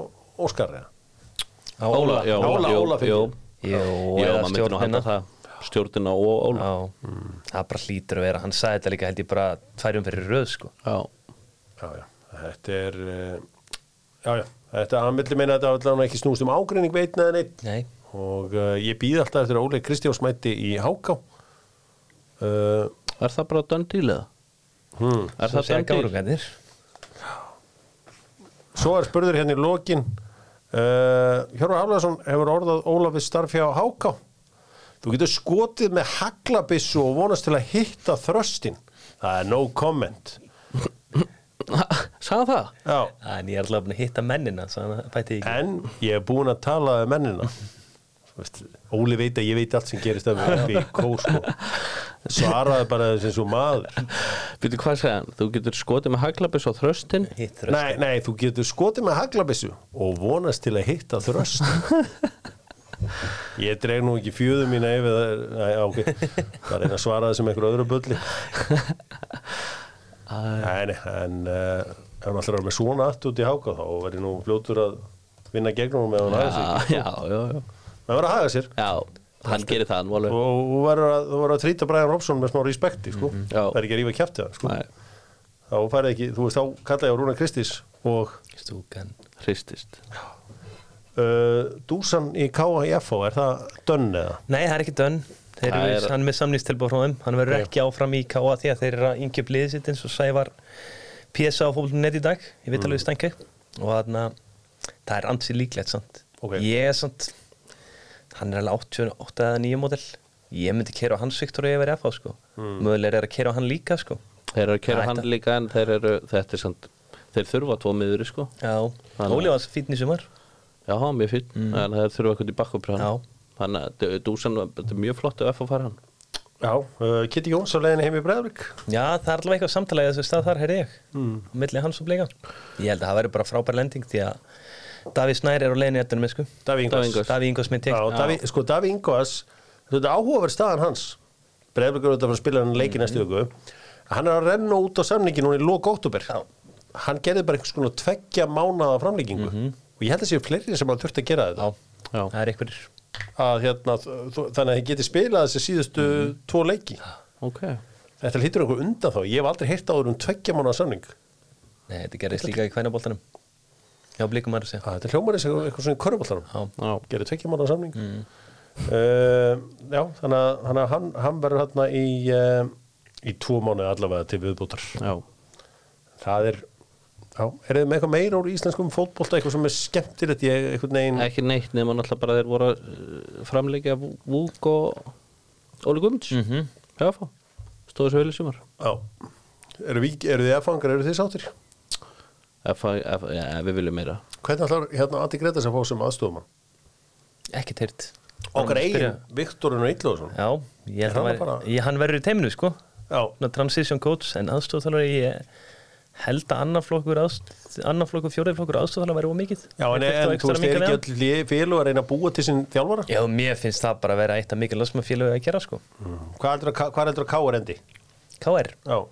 Óskar eða? Á Óla, já, Óla, jú, Óla fyrir. jú, Jú, jú, maður eða myndi nú stjórnina. halda það stjórnina og Óla Já, það bara hlýtur að vera hann sagði þetta líka held ég bara tværjum fyrir röð sko já, já, já, þetta er uh, já, já, þetta, hann vildi meina að þetta allan ekki snúst um ágreining veit neðan eitt Nei, og uh, ég býð alltaf eftir að Óli Kristjáns mæti í Háká uh, er það bara döndýlega? hmm. er svo það segja döndýl? gárugæðir Svo er spurður hérna í lokin uh, Hjörvar Haflaðarsson hefur orðað Ólafið starfi á Háká Þú getur skotið með haglabissu og vonast til að hitta þröstin Það er no comment sagði það? Já, En ég er alltaf búin að hitta mennina svo hann bæti ég ekki en ég er búin að tala um mennina Þú veist, Óli veit að ég veit allt sem gerist af mér upp í kósko Svaraði bara þessi svo maður Býtu hvað segja hann? Þú getur skotið með haglabis og þröstin Hitt röð Nei, nei, þú getur skotið með haglabissu og vonast til að hitta þröst Ég dreg nú ekki fjöðu mína yfir það er, nei, ok, það er einn að svara þessum einhver öðru bulli Nei, nei, en uh, ef hann alltaf er með svona allt út í háka þá verði nú fljótur að vinna gegnum með hann haga sér Já, já, já, já. Menn verður að haga sér já hann gerir það nú alveg og þú verður að, þú verður að trýta Brian Robson með smá respekti, sko Já. Það er ekki að rífa kjæftið hann, sko Nei, Þá færði ekki, þú veist, þá kallaði ég á Rúna Kristís og Stúkan hristist uh, dúsan í KIFO, er það dönn eða? Nei, það er ekki dönn Þeir Það eru er- hann er með samlýstilbúr frá þeim Hann verður ekki áfram í KA því að þeir eru að yngjöp liðið sitt eins og Sævar PSA á fólknum net í dag Ég Mm. veit alveg stænki Og þarna, það er ansið líklegt samt Ok. Ég er samt Hann er alveg 88 eða 9 model Ég myndi kera á hans Viktor og ég verið FH sko Mm. Mögulega er að kera á hann líka sko Þeir eru að kera Æ, hann þetta- líka en þeir eru þetta er samt Þeir þurfa tvo miður sko Já, Hann- Óli var fínn í sumar Já, mjög fýtt En þeir þurfa eitthvað í bakkupræðan Mm. Já. Þannig að d- Dúsan, þetta er mjög flott ef að fara hann Já, uh, Kitty Jóns á leiðinni heim í Breðavík Já, það er allavega eitthvað samtalið þessu stað þar, heyrði ég mm. Milli hans og bleika Ég held að það verður bara frábær lending Því að Davíð Snær er á leiðinni eftir með sko Daví Ingvars. Davíð Ingvars. Daví Ingos minn Já, tek Daví, sko Daví Ingvars þetta er áhugaverð staðan hans Breðavík er auðvitað fyrir að spila hann leiki næstu viku hann er að renna út á samlingin núna í lók óttúber hann gerði bara einhvers konar tveggja mánaða framlíkingu og ég held að séu fleiri sem hann þurfti að gera þetta Já, Já. það er einhverjir að, hérna, þ- þ- þannig að þið geti spilað þessi síðustu tvo leiki Ok þetta hlýtur einhver undan þá, ég hef aldrei heyrt áður um tveggja mánaða samling Nei, þetta gerðist líka í kvænaboltanum Já, blikum að segja að þetta hljómar eins og eitthvað svona í körfuballarum Já, Já, gerir tveikja mánu samning uh, já, þannig að, þannig að hann, hann verður hérna í uh, í tvo mánuði allavega til viðbútar já það er já, er þið með eitthvað meira úr íslenskum fótbolta eitthvað sem er skemmtilegt ég einhvern veginn Ekki neitt nema náttúrulega bara þeir voru eh, Mhm. að uh, framleggja Vúk og Óli Guðmunds mm -hmm. Já, fá stóðu svo vel í sumar Já. Eru, við, eru þið efangar, eru þið sáttir? F, F, ja, við viljum meira Hvernig allar hérna Andi Greta sem fá sem aðstofumann? ekki teirt Okkar eigin, Viktorinn og Eitloðsson. já, ég Er held hann að hann, bara- væri- ég- hann verður í teiminu sko Já. Svona transition coach en aðstofþjálfari ég held að annar flokkur aðst- annar flokkur, fjórið flokkur aðstofþjálfari væri ómikið Já, en, en þú veist, er ekki öll félag að reyna að búa til sinn þjálfara? Já, mér finnst það bara að vera eitt af mikið lasmafélagi að gera sko. Mm. Hvað heldur að, K- hvað heldur að Káur endi? KR, Já.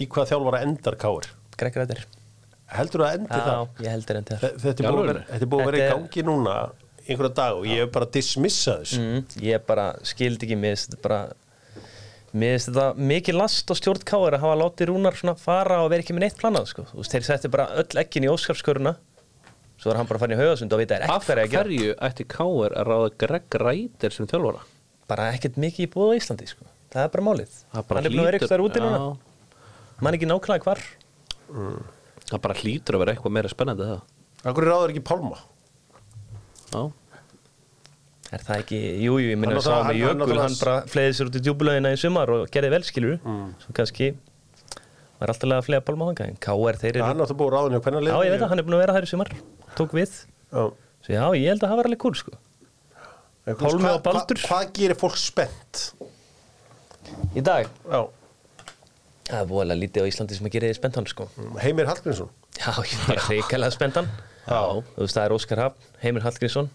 Í hvað þjálfara endar Káur? Greggræðir Heldur að endi Já, það? ég held er enn til Þe- Þetta er búið að vera- þetta er búið að vera í Þetta er- gangi núna einhverja dag og ég hef bara dismissað þessu. mm, Ég bara skildi ekki, mér finnst þetta bara Mér finnst þetta mikið last á stjórn KR að hafa látið Rúnar svona fara og vera ekki með neitt planað sko. Þú veist, þeir setti bara öll ekkin í óskapsköruna Svo var hann bara farin í haugasund og vita er Af ekkert hvað er að gera hverju ætti Káir að ráða Greg Ræder sem þjálfara? Bara ekkert mikið í búið á Íslandi sko. Það er bara málið Það bara Hann er búin að vera hlýtur- eitthvað úti núna Já. Man ekki nákvæmlega hvar Það bara hlýtur að vera eitthvað meira spennandi en það Akkur ráður ekki Pálma? Já, Er það ekki, jújú, jú, ég minna Hann að sá náttúrulega- hann- með hann Jökul, náttúrulega- hann bara fleiði sér út í djúbulöðina í sumar og gerði vel, skilur Mm. Svo kannski var alltaf að fleiða pálma þangað, en K.R. þeir Já, eru Hann er náttúrulega búið ráðinu á hvernig Já, ég veit að hann er búin að vera þær í sumar, tók við hann Svo já, ég held að það var alveg kúl, sko Pálmi og Baldur. Hvað gerir fólk spennt? Í dag? Já. Það er voðalega lítið á Íslandi sem að gera þið spenntan, sko Mm. Heimir Hallgrímsson Já, ég er reikalega spenntan Já. Þú veist, það er Óskar Hafn, Heimir Hallgrímsson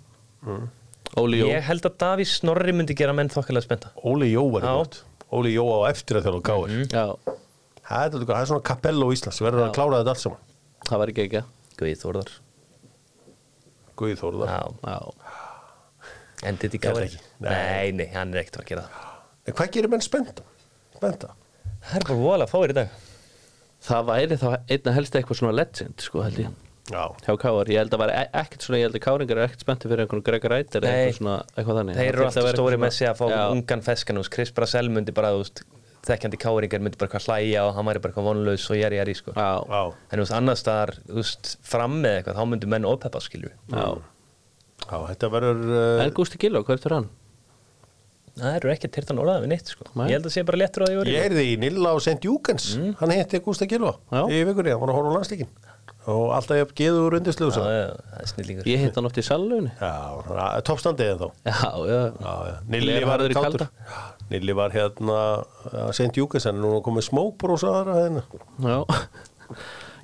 Óli Jó Ég held að Davís Snorri myndi gera menn þokkalega spennta Óli Jó var í Já. Mm. gott Óli Jó á eftir að þjálfa gáir Já, það, er dálítið gott. það er svona kapello í Íslands við verðum að klára þetta allt saman það var ekki ekki Guði Þórðar Guði Þórðar Já, Já, endið í Gerði K.R. ekki. Nei, nei, hann er ekkert að fara að gera það En hvað gerir menn spennta? Spennta? Það er bara voðalega fáir í dag það væri þá einna helst eitthvað svona legend, sko held ég Já hjá Káar, ég held að það væri e- ekkert svona ég held að Káringar er ekkert spenntið fyrir einhvern Greg Ræder eða Nei. eitthvað svona, eitthvað þannig Þeir Það eru þyrfti alltaf vera stóri eitthvað með sig að fá svona- Já. ungan feskan hús Chris Brassel myndi bara, þú veist þekkjandi káringar myndi bara hvað hlæja og hann væri bara eitthvað vonlaus og jari jari sko Já, Já, En þú veist, annars staðar, þú veist, fram með eitthvað þá myndu menn opeppa skilju já já þetta verður uh, En Gústi Gilló, hvert er hann? Það eru ekki tyrtan orðað við neitt sko Nei. Ég held að sé bara léttur á því Ég orðið heyrði í Nilla og St. Júkens Hann hitti Gústa Gilva Mm. Já. í vikunni, hann var að horfa á landslíkin og alltaf ég hef geður úr undirsluðu Já, Já, já, Það er snillingur Ég hitt hann oft í salunni hann er toppstandið en þá Já, já, Já, já. Gler Nilli var harður í kátur. kalda. Já, Nilli var hérna að St. Júkes en nú er komið smókbrós aðra hérna já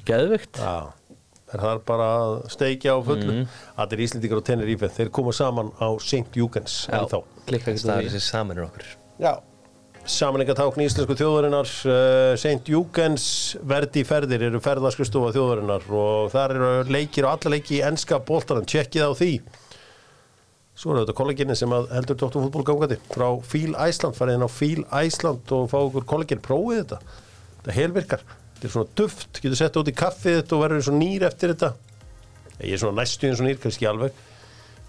Geðvikt Já, er það bara að steikja á fullu Allir Íslendingar og Tenerife, þeir koma saman á St. Júkens en þá klikka ekki Það það er þessi samanur okkur Já Samanengatákn íslensku þjóðarinnar uh, St. Júkens verdi ferðir eru ferðarskristofa þjóðarinnar og þar eru leikir og alla leiki í enska bóltarann, tjekkið á því Svo eru þetta kolleginni sem að heldur Dr. Fútból gangandi frá Fíl Æsland, farið inn á Fíl Æsland og fá okkur kollegin prófið þetta. Þetta helvirkar. Þetta er svona duft, getur sett út í kaffið þetta og verður svo nýr eftir þetta. Ég er svona næstu eins og nýr, kannski ekki alveg.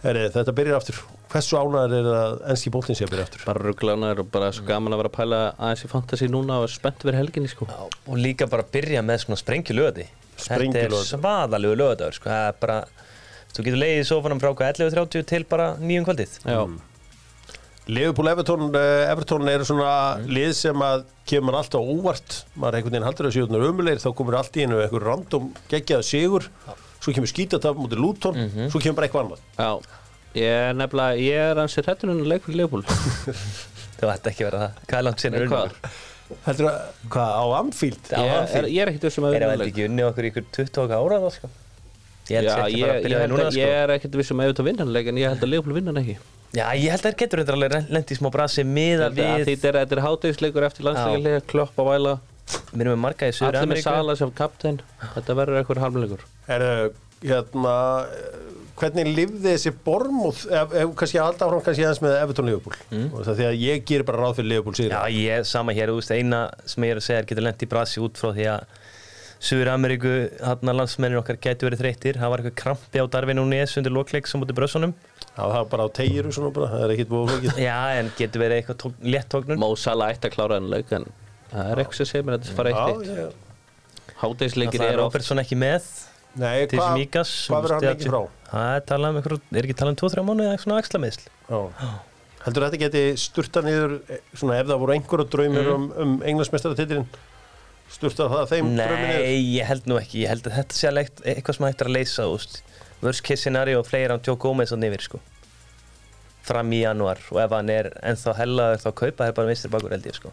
Heri, þetta byrjar aftur. Hversu ánæður er það enski bóltinn sé að byrja aftur? Bara rugglanar og bara svo gaman að vera að pæla aðeins í fantasy núna og er spennt fyrir helginni sko Já, og líka bara byrja með svona sprengjulöði Þetta Sprengjulöði. er svaðalegu löðaður sko. Það er bara, þú getur leiðið í sófanum frá hvað 11.30 til bara nýjum kvöldið Já, Liverpool Everton, eh, Everton eru svona lið sem að kemur alltaf óvart maður einhvern veginn haldur að sjóðunar umulegir þá komur allt í einu einhver random geggjaðu sigur svo kemur skítataf mútið Luton Mhm. svo kemur bara eitthvað annað já Ég er nefnilega, ég er hans í hrættunum leik fyrir Leopold Það ætti ekki að vera það Hvað er langt sinni Hvað? Heldur að, hvað, á Anfield? Já, Ég er, ég er ekkert þessum að Er vinna það leik ekki unni okkur í ykkur 20 okkar ára þá sko Ég held Já, sér ekki ég, bara ég, að byrja það held núna að, sko ég er ekkert viss um að auðvitað vinna hann leik en ég held að Leopold vinna hann ekki Ég Já, ég held að það getur þetta alveg lendi í smá brasi miða held að við Þetta er, þetta er hátegisleikur eftir landsleikilega, klopp að væla Við erum með marga í Suður Allir með Ameríku Sala sem kaptein Þetta verður eitthvað halmleikur Er, hérna, eh, hvernig lifði þessi bormúð ef, ef kannski alltaf frá kannski aðeins með Everton Liverpool og það því að ég ger bara ráð fyrir Liverpool sigur Mhm. Já, ég, sama hér, þú veist, eina sem ég er að segja er getur lendi í brasi út frá því að Suður Ameríku, hann að landsmennin okkar getur verið þreyttir, það var eitthvað krampi á darfi núni eða sundir lokleik sem mútið brössunum það var bara á tegir og svona bara, það er ekkit búið fólkið Já, en getur verið eitthvað tók, létt tóknun Má Sala ætti að klára hann leik en það er eitthvað sem segir mér að þetta fara Já, eitt eitt já. Hátegisleikir Það er er oft Robertson ekki með Nei, til hvað Smíkas hvað verður hann mikið frá? Það er talað um eitthvað, er ekki talað um 2-3 mánuði eða eitthvað svona axlameðsl Já. Heldur þetta geti sturta niður eh, svona ef það voru einhverja draumur Mm. um, um englansmestaratitilin sturta það þeim draumi niður? Nei, ég held nú ekki, ég held að þetta sé alveg eitt- eitthvað sem hægt er að leysa úst. worst case scenario og fleira án Joe Gomez og yfir sko fram í januar og ef hann er ennþá hellaður þá kaupa það er bara mistur bakur held ég sko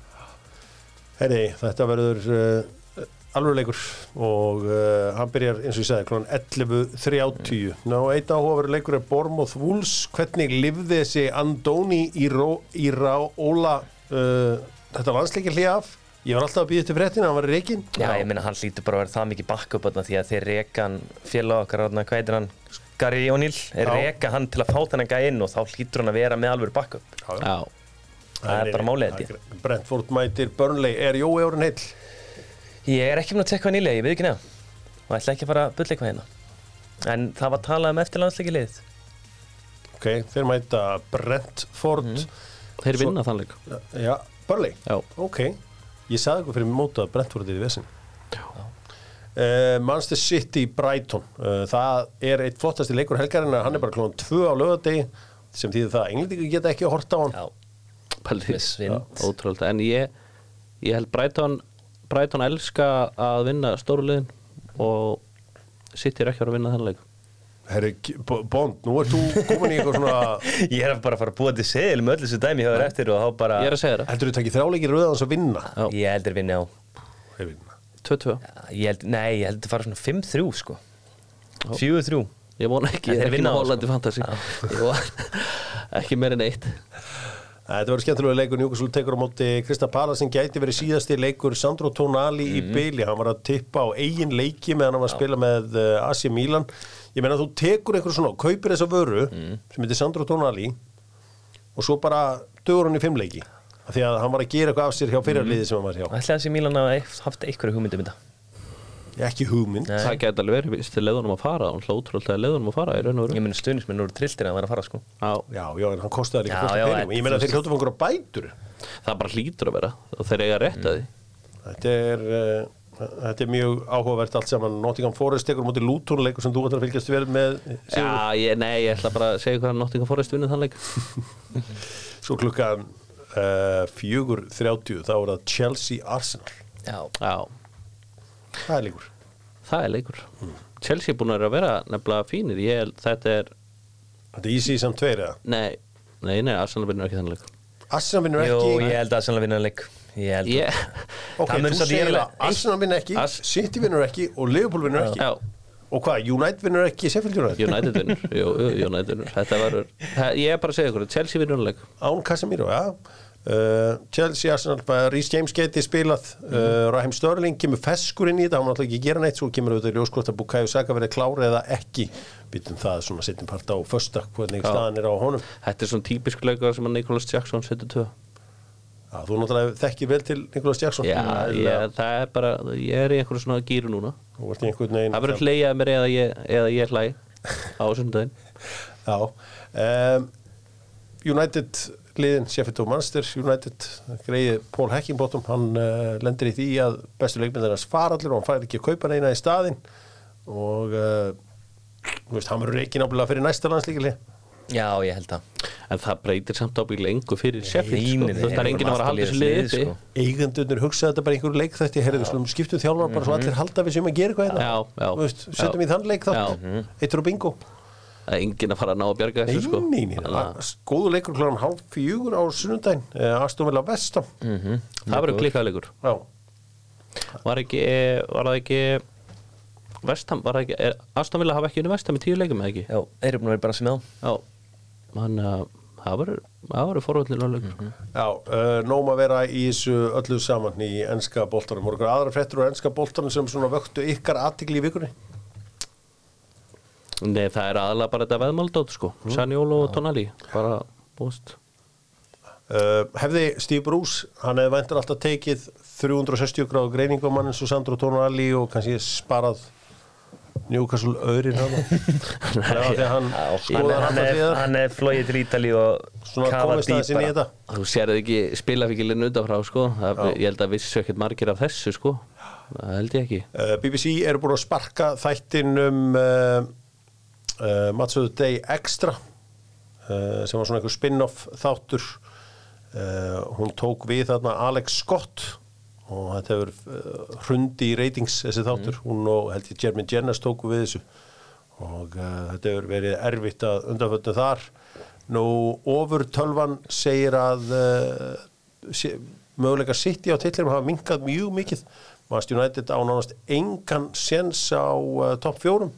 Herri, þetta verður uh, alvöruleikur og uh, hann byrjar eins og ég segði kl. 11.30 Ná, einn áhugaveru leikur er Bormoth Wolves hvernig lifði þessi Andoni í, ró, í rá, Óla uh, þetta landsleikir hlið af ég var alltaf að býða til fréttina, hann var í reikin Já, ég meina hann hlýtur bara að vera það mikið bakkup þarna því að þeir reka hann félag okkar þarna, hvað heitir hann, Gary O'Neill Já. reka hann til að fá þennan gæja inn og þá hlýtur hann að vera með alveg bakkup Já, Það er bara málið, held ég. Brentford mætir Burnley, er Jói Árun heill? Ég er ekki með að tekka hann ílega, ég veit ekki neða og ætla ekki að fara að bulla eitthvað hérna en það var talað um eftir landsleiki liðið Ok, þeir mæta Brentford þeir vinna þannleik Já, Burnley Mhm. Já. Ok, ég sagði eitthvað fyrir móta að Brentford er í vesin Uh, Manchester City Brighton uh, það er eitt flottasti leikur helgarinn hann er bara klóðan tvö á lögadegi sem þýðir það að englendingur geta ekki að horta á hann Já, Paldið, Með svind. ótrúlega En ég, ég held Brighton Brighton elska að vinna stóru liðin og City er ekki að fara að vinna þannleik Herri, K- B- Bond, nú ert þú komin í eitthvað svona ég er bara að fara að búa til segil með öll þessu dæmi hjá þér eftir og þá bara Ég er að Ah. segja það, heldur þú takið þráleikir rauðans að vinna Já. Ég heldur vinni á 2-2 ég held, Nei, ég heldur fara svona 5-3 sko 4-3 Ég vona ekki, ég En þeir er ekki vinna sko. með þá, Hollandi Fantasy Ég vona ekki meir en eitt Þetta verður skemmtilega leikur Newcastle tekur á móti Krista Pala sem gæti verið síðasti leikur Sandro Tonali Mhm. í byli, hann var að tippa á eigin leiki meðan hann var að spila með uh, Asi Milan, ég meina þú tekur einhver svona, kaupir þessa vöru Mhm. sem heitir Sandro Tonali og svo bara dögur hann í fimm leiki af því að hann var að gera eitthvað af sér hjá Mhm. fyrirliði sem hann var hjá, Ætli að sé Mílan að haft einhverju hugmyndum þetta ekki hugmynd Nei. Það gæti alveg verið, víst, til leiðunum að fara Hún hlóð ótrúlega leiðunum að fara í raun og Ég veru meni stuðnismenn eru trilltir að vera að fara sko Já, Já, já, en hann kostiði líka Já, fullt af já, peningum, ég meina þú þeir hljóttum einhverja bætur það bara hlýtur að vera og þeir eiga rétt að því Mm. Þetta er, uh, þetta er mjög áhugavert allt saman, Nottingham Forest tekur á móti Luton leikur sem þú ætlar að fylgjast vel með Eh, Sigurður. Já, ég, nei, ég ætla bara að segja hvað Nottingham Forest vinnur þannleik Svo klukkan uh, fjögur þrjátíu þá er það Chelsea Arsenal Já Já, Það er líkur það er leikur Chelsea er búin að vera nefnilega fínir Ég, held- þetta er, Þetta er easy sem tveir eða nei, nei, nei, Arsenal vinnur ekki þannleik Arsenal vinnur Jú, ekki ég held að Arsenal vinna leik Ég held Ég, Ok, Það mun þú samt segir eiginlega- að Arsenal vinnur ekki Ars- City vinnur ekki og Liverpool vinnur ekki já, Og hvað, United vinnur ekki, Sheffield United United vinnur Jú, jú, United vinnur Þetta var, ég er bara að segja ykkur, Chelsea vinnur þannleik Án Casemiro, já Uh, Chelsea, Arsenal, bara Rhys James geti spilað Mhm. uh, Raheim Störling kemur feskur inn í þetta, hann var alltaf ekki að gera neitt svo kemur auðvitað í ljóskvort að Bukayo Saka verið klár eða ekki, býtum það svona setjum part á fösta, hvernig Já. staðan er á honum Þetta er svona típisk leikur sem að Nicholas Jackson setur tvö Já, þú náttúrulega þekkir vel til Nicholas Jackson Já, ég, það er bara, ég er í einhverju svona gýru núna Þú ert í einhvern veginn Það verður hlægjað mér eða ég, eða ég hlæ á sundaginn Já um, United liðin Sheffield og Manchester United greiði Paul Heckingbottom hann uh, lendir í því að bestu leikmyndarnas fara allir og hann fær ekki að kaupa neina í staðinn og uh, þú veist, hann verður ekki náttúrulega fyrir næsta landslíkili Já, ég held að En það breytir samt ábyggilega engu fyrir Sheffield sko. Rýmið Þú veist, það er þeir enginn að voru vera að halda þessu alltaf liði liðið, uppi sko. eigendunir hugsaði þetta bara í einhverju leik þetta heyrðu, slum skiptum þjálfar um bara svo allir halda við sem að gera eitthvað Mhm. hérna. Já, já. Þú veist, setjum Já. í þann leik þá Já. mhm. eittur og bingo Það er enginn að fara að ná að bjarga Nei, þessu sko. nei, nei, Þannig að að- góður leikur kláran hálf fjögur á sunnundaginn, uh, Aston Villa Vestam Það verður klikkað leikur Já, Var ekki, var það ekki Vestam, var það ekki er, Aston Villa hafa ekki unni Vestam í tíu leikum eða ekki Já, þeir eru búin að vera bara sem þá Já Þannig að það verður, það verður forvöldnilega leikur já uh, nóm að vera í þessu öllu saman í enska boltanum, voru ykkur aðra frettur á enska boltanum sem svona vöktu ykkar aðtikli í vikunni? Nei, það er aðalega bara þetta veðmáldótt sko Sanjólo og Tonali Bara, búst Uh, hefði Steve Bruce, hann hefði væntur alltaf tekið 360 gráðu greiningu á mann eins og Sandro Tonali og kannski sparað Newcastle öðrin hann þegar því að hann Hann, skoðar hann, alltaf er, hliðar hann er flóið til Ítali og svona kafað komist aðeins inn í dýpra. þetta Þú sérðu ekki spilafíkilinn undanfrá sko það, Ég held að vissu ekkert margir af þessu sko Það held ég ekki Uh, BBC eru búin að eh, sparka þættin um uh, uh, Matsöðu Day eh, Extra uh, uh, sem var svona einhver spin-off þáttur uh, hún tók við þarna Alex Scott og þetta hefur uh, hrundi í ratings þessi þáttur, hún og held ég Jeremy Jenners tóku við þessu og uh, þetta hefur verið erfitt að undanföldu þar nú ofur tölvan segir að uh, sé, möguleika City á titlirum hafa minkað mjög mikið Manchester United á nánast engan séns á uh, topp fjórum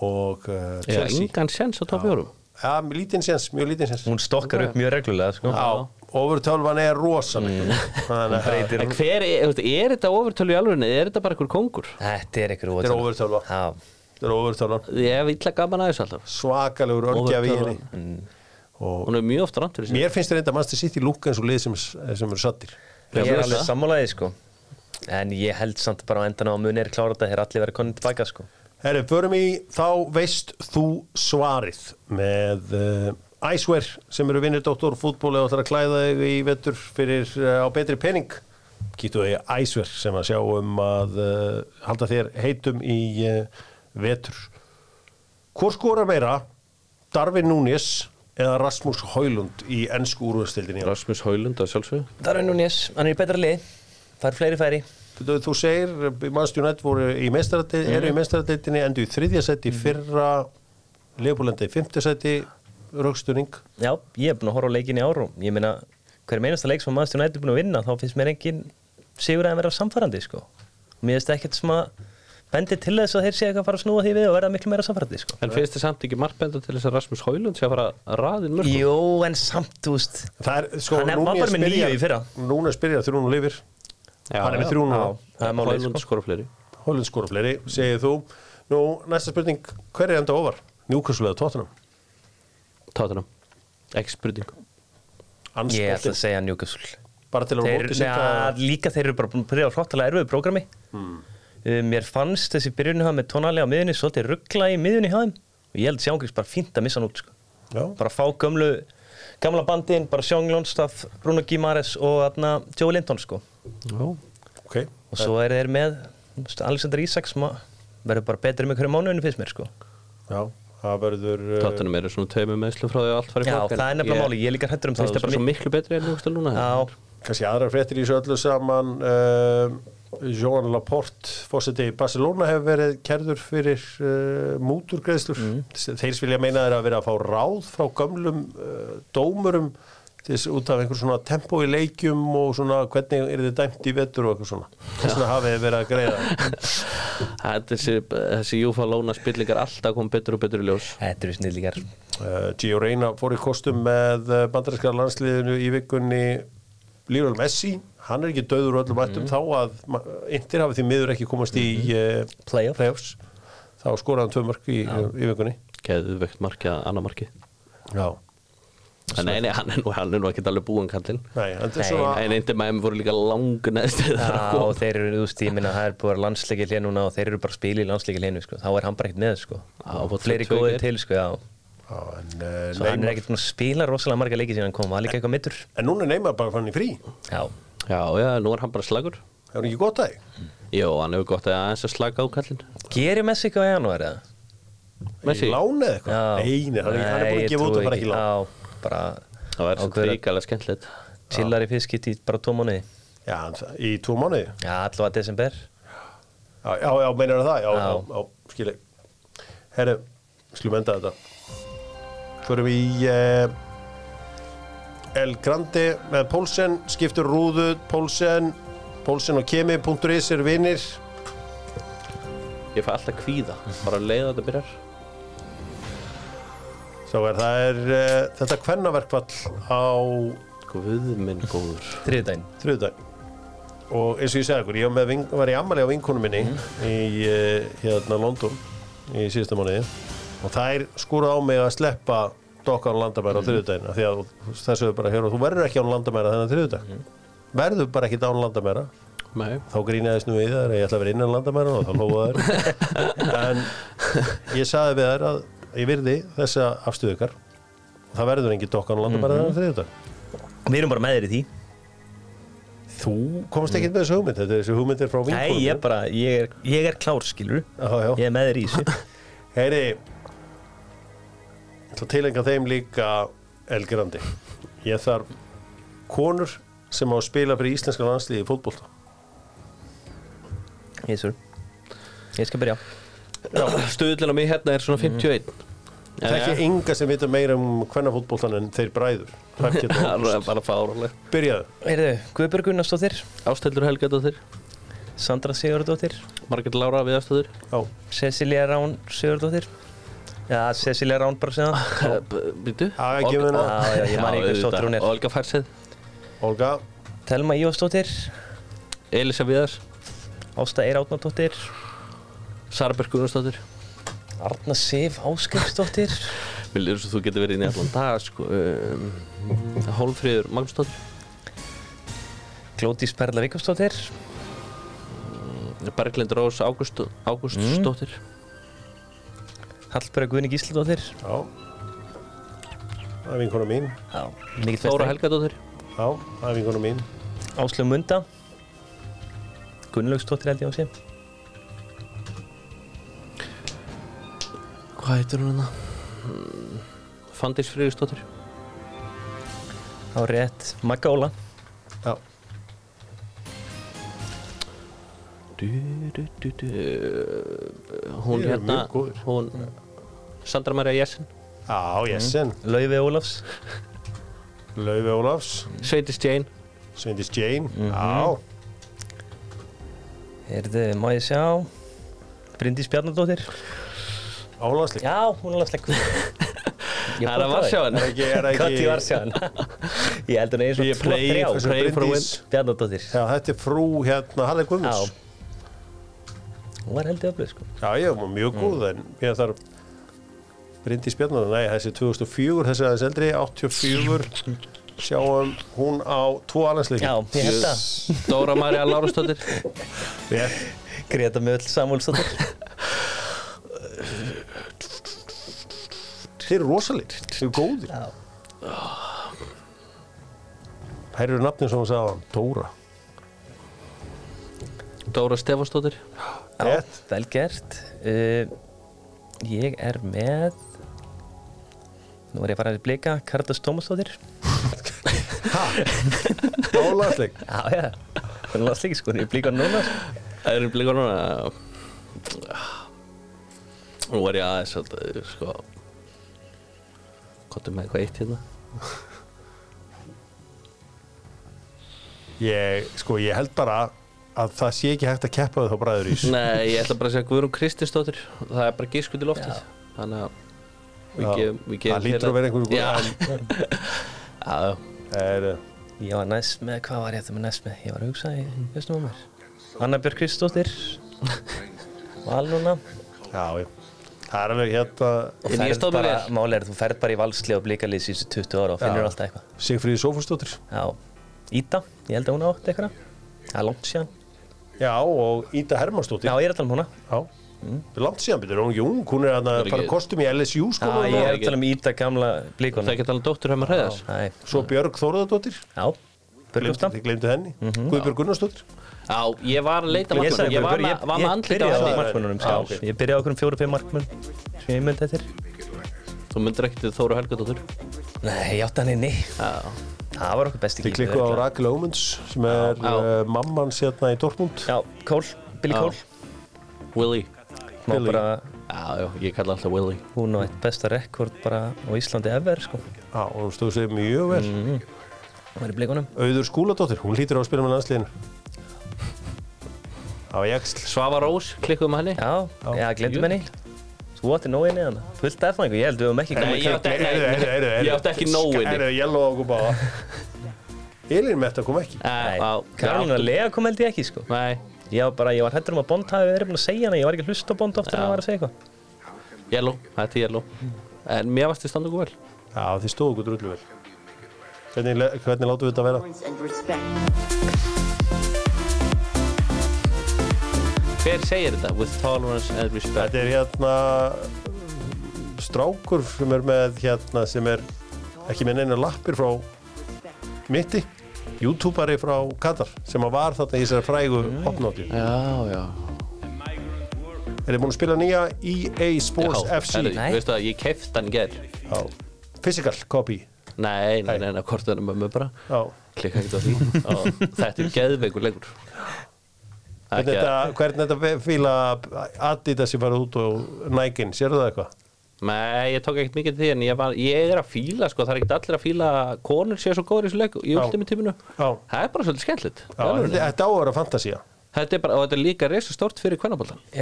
og uh, Já, Chelsea engan sens á top 4 Já, mjög lítinn séns, mjög lítinn séns Hún stokkar upp mjög reglulega sko. Já, ofurtölvan er rosaleg Þannig að Mm. Breytir- En hver, er, þú veist, er þetta ofurtölu í alvegni? Er þetta bara einhver kongur? Þetta er ekkur Þetta er ofurtölva Þetta er ofurtölvan Ég hef illa gaman aðeins alltaf Svakalegur örgjafi í Overtölvan. henni Mm. Og Hún er mjög oft rantur í sér mér finnst þetta að Manchester City lúka eins og lið sem, sem eru sattir Já, Ég þú er veist alveg það. sammálaði sko En ég held samt bara á endan á að munir klára þetta Þeir allir verið konin tilbaka sko Herru, förum í Þá veist þú svarið með uh, Icewear sem eru vinnir dóttor fútbóli og ætlar að klæða þig í vetur fyrir uh, á betri pening Kýttu þig í Icewear sem að sjá um að uh, halda þér heitum í uh, vetur Hvor skorar meira Darvin Núnes eða Rasmus Hólund í ennsku úrvastildinni? Rasmus Haulund að sjálfsög Darvin Núnes, hann er í betra lið Fær fleiri færi Þú, þú segir, Manchester United voru í Mhm. meistaradeildinni, eru í meistaradeildinni, endur í þriðja seti mm. fyrra, Leopoldandi í fymta seti, rögsturning. Já, ég er búin að horfa á leikin í ár og Ég meina, hver meinasta leik sem maður stjórn er búin að vinna Þá finnst mér engin sigur að vera samfærandi sko Og Mér finnst ekkert sem að Bendi til þess að þeir sé eitthvað að fara að snúa því við Og verða miklu meira samfærandi sko En finnst þið samt ekki margbenda til þess að Rasmus Haulund sé að fara að raðin mörgum? Jú, en samt, þú veist Það er, sko, Hann er- var bara með níu í fyrra. Núna spyrja þrjún og lifir, hann er með þrjún og það er málið, Haulund sko. skora fleiri Hólund skora fleiri, segir þú. Nú, næsta spurning, hver er enda ofar? Newcastle eða Tottenham? Táttunum, ekki spurning Eh. Ég ætla Anspoltin, að segja Newcastle bara til að Þeir, móti ja, sýnda. líka þeir eru bara búin að byrja á hróttalega erfiðu prógrami um, Mér fannst þessi byrjunni hafa með tónali á miðunni svolítið ruggla í miðunni hafa og ég held sjángriks bara fínt að missa hann út sko. Já, bara fá gömlu gamla bandin, bara Sjón Lónstaf, Bruno Guimaraes og atna, Joe Linton sko. Já, ok. og svo eru þeir með þú veist, Alexander Isaac sem að verður bara betri með hverju mánuðinu fyrst mér sko. Já, það verður... uh, Tottenham eru svona tveimur meðslum frá því að allt fari í Já, flakk, en það er nefnilega ég- máli, ég er líka hættur um Finnst það það bara svo miklu betri en Newcastle núna Já, kannski aðrar fréttir í þessu öllu saman uh, Johan Laporte fórseti í Barcelona hefur verið kerður fyrir uh, múturgreðslur þeir vilja meina þeir að vera að fá ráð frá gömlum uh, dómurum þess út af einhver svona tempo í leikjum og svona hvernig er þið dæmt í vetur og eitthvað svona þess vegna hafið þið verið að greiða Það er þessi, þessi Júfa Lóna spillingar alltaf kom betur og betur í ljós þetta eru snillíkar Uh, Gio Reyna fór í kostum með bandarinskara landsliðinu í vikunni Lionel Messi, hann er ekki döður úr öllum ættum þá að ma- Inter hafi því miður ekki komast í uh, Playoff. playoffs þá skoraði hann tvö mörg í, í vikunni Geðvögt markið að annar markið Já, En nei, nei, hann er nú, hann er nú ekki alveg búin kallinn nei, en þetta er Nei, svona En eindir maður voru líka lang neðst Já, og Hann þeir eru, þú veist, ég minna, það er búið að vera landsleiki hlið núna og þeir eru bara að spila í landsleiki hlið sko. þá er hann bara ekkert með, sko Já, og bara fleiri tvö- tvö góðir hér. til, sko, já Já, en, uh, svo hann er Neymar- ekkert búin að spila rosalega marga leiki síðan hann kom, var líka eitthvað mittur en núna er Neymar bara fann í frí Já, Já, já, nú er hann bara slagur Það er ekki gott að þig Jó, hann hefur gott að aðeins að slaga á kallinn gerir Messi eitthvað í janúar, eða? Messi, Lánið eitthvað Nei, nei, hann er- hann er búin ég að gefa út trúi að fara ekki lán Já, bara það var svo ákveður að ríkalega skemmtilegt chillar í fiskit í bara tvo mánuði Já, en í tvo mánuði Já, allavega desember Já, já, já meinar það, já, já, Já. já skilji. Herru, skulum enda þetta. Förum í eh, El Grande með Pólsen, skiptur rúðu, Pólsen, Pólsen og Kemi.is er vinnir. Ég fæ alltaf kvíða, bara að leiða þetta byrjar Svo er það er eh, þetta kvennaverkvall á Guð minn góður þriðdæn þriðdag. Og eins og ég segja ykkur, ég var, með, vin- var í ammali á vinkonu minni í eh, hérna London í síðustu mánuði og þær skúraði á mig að sleppa dokka án landamæra á þriðdaginn af því að þessu er bara að höra, þú verður ekki án landamæra þennan þriðdag verður bara ekki án landamæra Nei, þá grínaðist nú við þær að ég ætla að vera innan landamæra og þá hlóðu þær en ég saði við þær að ég virði þessa afstöðu ykkar og það verður engin dokka án landamæra Mhm. þennan þriðdag Við erum bara með þér í því þú komst ekki með þessu hugmynd þetta er þessu hugmyndir frá Nei, vinkonum ég er bara, ég er, ég er klár, skilur Já, já. Ég er með þér í þessu Heyri ætla að tilenga þeim líka elgrandi. Ég þarf konur sem á að spila fyrir íslenska landsliði í fótbolta. Yes, sir. Ég skal byrja Stöðlinn á mig hérna er svona 51 Það Eh, er ekki enga sem vita meira um hvenna fótboltan en þeir bræður. Hrafnkell og Það er Ágúst. bara fáraleg Byrjaðu. Heyrðu, Guðbjörg Gunnarsdóttir Ástældur Helgadóttir, Sandra Sigurdóttir Margrét Lára Viðarstóttir Já. Cecilia Rán Sigurdóttir Já, Cecilia Rán bara síðan Eh, Býtu? Já, gefum henni það. Já, já, ég man ekki hvers dóttir hún er. Olga Færsið, Olga. Telma Ívarsdóttir Elisa Viðars, Ásta Eirátnadóttir Sarberg Gunnarsdóttir Arna Sif Áskjöfsdóttir Vil eru svo þú getur verið inn í allan dag sko um, Hólfríður Magnúsdóttir Glódís Perla Vikafsdóttir Berglind Rós Ágúst- Ágústsdóttir Hallberg Guðni Gísladóttir Já. Það er vinkona mín. Já, mikill Þóra festari Helgadóttir Já, það er vinkona mín. Áslöf Munda Gunnlaugsdóttir held ég á sig Hvað heitir hún hérna? Mm, Fanndís Friðisdóttir Á rétt Magga Óla Já. du, du, du, du. Hún Þið eru hérna mjög góðir. Hún Sandra Maria Jessen Já, Jessen. Laufi Ólafs Laufi Ólafs. Sveitis Jane Sveindis Jane. Já. Heyrðu, má ég sjá Bryndís Bjarnadóttir Álandsli. Já, hún er landsleikur Það er að varsjá henni Er ekki, er ekki... Hvað til varsjá henni? Ég held hún eins og Ég tvo, play- þrjá Þessu Pray for a Bryndís- Bjarnadóttir Já, þetta er frú hérna Halle Já Guðmunds. Hún var heldur öflug sko Já, Mhm. ég var mjög góð en ég þarf Bryndís Bjarnar, nei, þessi 2004, þessi aðeins eldri, 84, sjáum hún á tvo alansleiki. Já, ég held að Dóra Maria Lárastóttir Ég, Greta Möll Samúlsdóttir þeir eru rosalir, þeir eru góðir. Já. Þær eru nafnir sem hún sagði á hann, Dóra. Dóra Stefánsdóttir Já, Rétt. vel gert uh, Ég er með Nú er ég að fara að blika Kardas Tómasdóttir Álandsleik. Já, já Hún er landsleiki sko, hún er blika núna sko. Það eru blikur núna Nú var ég aðeins alltaf, sko Kottum með eitthvað eitt hérna Ég, sko, ég held bara að það sé ekki hægt að keppa við þá bræður ís. Nei, ég ætla bara að segja Guðrún Kristinsdóttir Það er bara gískut í loftið Þannig að við Já. gefum við gefum Það hérna- lítur að vera einhverju Já. góð. Já, Það er... Ég var næst með, hvað var ég þetta með næst með? Ég var að hugsa í höstum á mér Anna Björk Kristóttir Val núna Já, já. Það er alveg hérna Og En ég ferð stóð mig bara, vel. máli er að þú ferð bara í valsli og blikalið síðustu 20 ára og finnur alltaf eitthvað Sigfríði Sofustóttir. Já, Íta, ég held að hún átti eitthvað Það er langt síðan Já, Já, og Íta Hermannstóttir. ég er alltaf um húnna Já. Langt síðan betur, hún er ekki ung, hún er að Mm. er fara ekki- Ah, kostum í LSU Já, skólanum. ég er ekki- alltaf um Íta gamla það blíkona er ekki talað um dóttur hefum að hreðast Já, Svo Björg Þórðardóttir. Börgumstam Þið glemdu henni. Mhm. Guðbjörg Gunnarsdóttir. Já, ég var að leita Ég sagði markmann Ég var Börgur, með- var með ég andlita á byrjaði á henni. markmönunum Já, já, ok. Ég byrjaði á okkur um fjóru-fimm markmön sem ég myndi eftir henni Þú myndir ekkert við Þóru Helgadóttur Nei, ég átti hann inni Já, Það var okkur besti Þið keeper, klikkuð á örugglega. Rakel Ómunds sem er Já. uh, mamman sérna í Dortmund. Já, Kól, Billy Já. Kól Willy Má Billy. bara, Já, já, ég kalla alltaf Willy hún á eitt besta rekord bara á Íslandi ever sko Já, og hún stóðu sig mjög vel. Mm. Hún var í blíkonum Auður Skúladóttir, hún hlýtur á að spila með landsliðinu. Á Jaxl. Svava Rós, klikkuðum henni Já, já, glemdum henni Þú átti nógu inn í hana Fullt af þannig, ég held við höfum ekki Nei, komið ég átti- nei, nei, ég átti ekki nógu inni. Erðu, ég lofa okkur báða. Elin Metta kom ekki. Já, Eh, já, Karolina Lea kom held ég ekki sko Nei, Ég var bara, ég var hættur um að Bond hafi verið búin að segja hana Ég var ekki að hlusta á Bond ofta en Já. hann var að segja eitthvað Yellow, þetta er Yellow En mér varst þið standa okkur vel Já, þið stóðu okkur drullu vel. Hvernig, le- hvernig látum við þetta vera? and respect. Hver segir þetta? With tolerance and respect Þetta er hérna strákur sem er með hérna sem er ekki með neina lappir frá mitti youtuberi frá Katar sem að var þarna í þessari frægu opnátti Er Já, já þið búin að spila nýja E EA Sports herri, FC? Nei. Veistu að ég kefti hann í ger Já. Physical copy Nei, nei, nei, nei, hvort er mömmu bara Já. Klikka ekkert á því og þetta er geðveikur lengur Hvernig Ekki að- þetta, hvernig þetta fíla Adidas sem farið út og Nike-in, sérðu það eitthvað? Nei, ég tók ekkert mikið til því en ég, var, ég er að fíla, sko, það er ekkert allir að fíla að konur séu svo góður í þessu leik í Já. ultimi tíminu Já. Það er bara svolítið skemmtilegt Já, alveg. Þetta þetta á að vera fantasía Þetta er bara, og þetta er líka reysa stort fyrir kvennaboltan Er-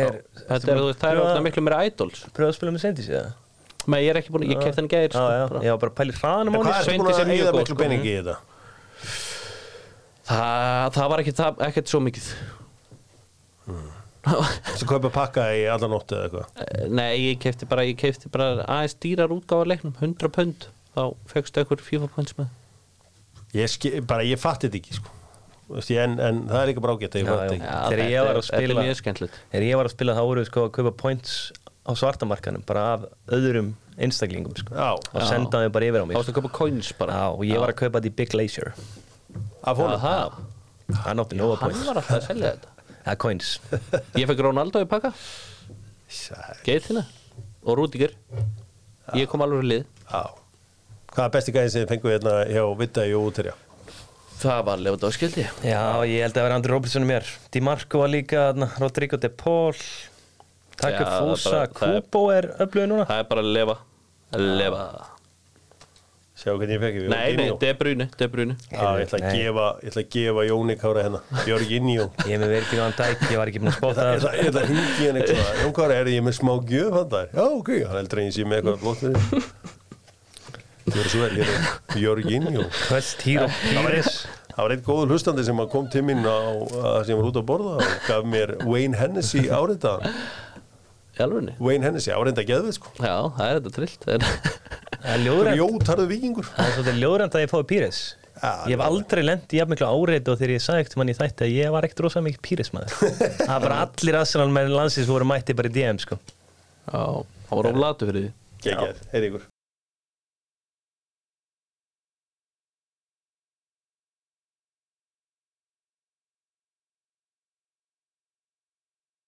Þetta er, þú veist, það er Pröfa- orðna miklu meira idols Pröfaðu að spila með Sendis eða? Men ég er ekki búin, ég kefti hann í gær sko, Já, já, ég var bara að pæli hraðanum á Hvað henni er Sveindís búin er að mjög eyða góð, miklu sko. peningi í þetta? Það, það var ekkert, það, ekkert svo mikið Sem kaupa pakka í alla nótt eða eitthvað Eh, Nei, ég kefti bara, ég kefti bara aðeins dýrar útgáfa af leiknum, 100 pund þá fegstu ekkur FIFA points með Ég, ski, bara, ég fatti þetta ekki sko. Þú veist, ég- en, en það er líka bara ágætt að ég Já, fatti ekki já. Já, Þegar þetta ég var er- að Þetta spila- er mjög skemmtilegt Þegar ég var að spila þá voru við sko að kaupa points á svartamarkanum bara af öðrum einstaklingum sko Já, og senda þau bara yfir á Þá mig sko. varstu að köpa coins bara Já, og ég var að kaupa þetta í Big Leisure af Já, honum það, Hann átti nóga hann points var alltaf að selja þetta Það coins Ég fekk Ronaldo í pakka Sæ- Geitina og Rúdíker Ég kom alveg í lið Já Hvað er besti gæðin sem þið fengu hérna hjá Vita í úterja? Það var Lewandowski held ég Já, ég held að það var Andri Robertson og mér Di Marco var líka, þarna, Rodrigo De Paul Já, Takk það er bara- Fúsa, það er- Kubo er öflöðu núna Það er bara að lefa að lefa Sjá hvernig ég fekk ég Nei, nei, Já, De Bruyne, De Bruyne ég ætla að Nei. gefa, ég ætla að gefa Jóni Kára hérna, Jörginjó Ég er með verið á hann dæk, ég var ekki búin að spóta Ég ætla ég ætla að hringi hérna eitthvað Jón Kára, er ég með smá gjöf hann þar? Já, ok, hann heldur eins ég með eitthvað flott fyrir þér. Þú er svo vel, hérna, Jörginjó Kvöld, Hero, Píris Það var einn góður hlustandi sem að kom til mín á, að- sem var út að borða og gaf mér Wayne Hennessy áreitaðan Í alvegni Wayne Hennessy áreita geðvið sko Já, það er þetta trillt en- Það er Þú ljóðrænt Ljótarðu vikingur Það er svolítið ljóðrænt að ég fái Píris Já, Ég hef aldrei lent í jafnmiklu áreitu og þegar ég sagði ekkert mann í þætti að ég var ekkert rosa mikið Píris maður Það var bara allir aðsannal með landsins voru mætti bara í DM sko Já, hann var oflatu fyrir því Gekkjað, heyr ykkur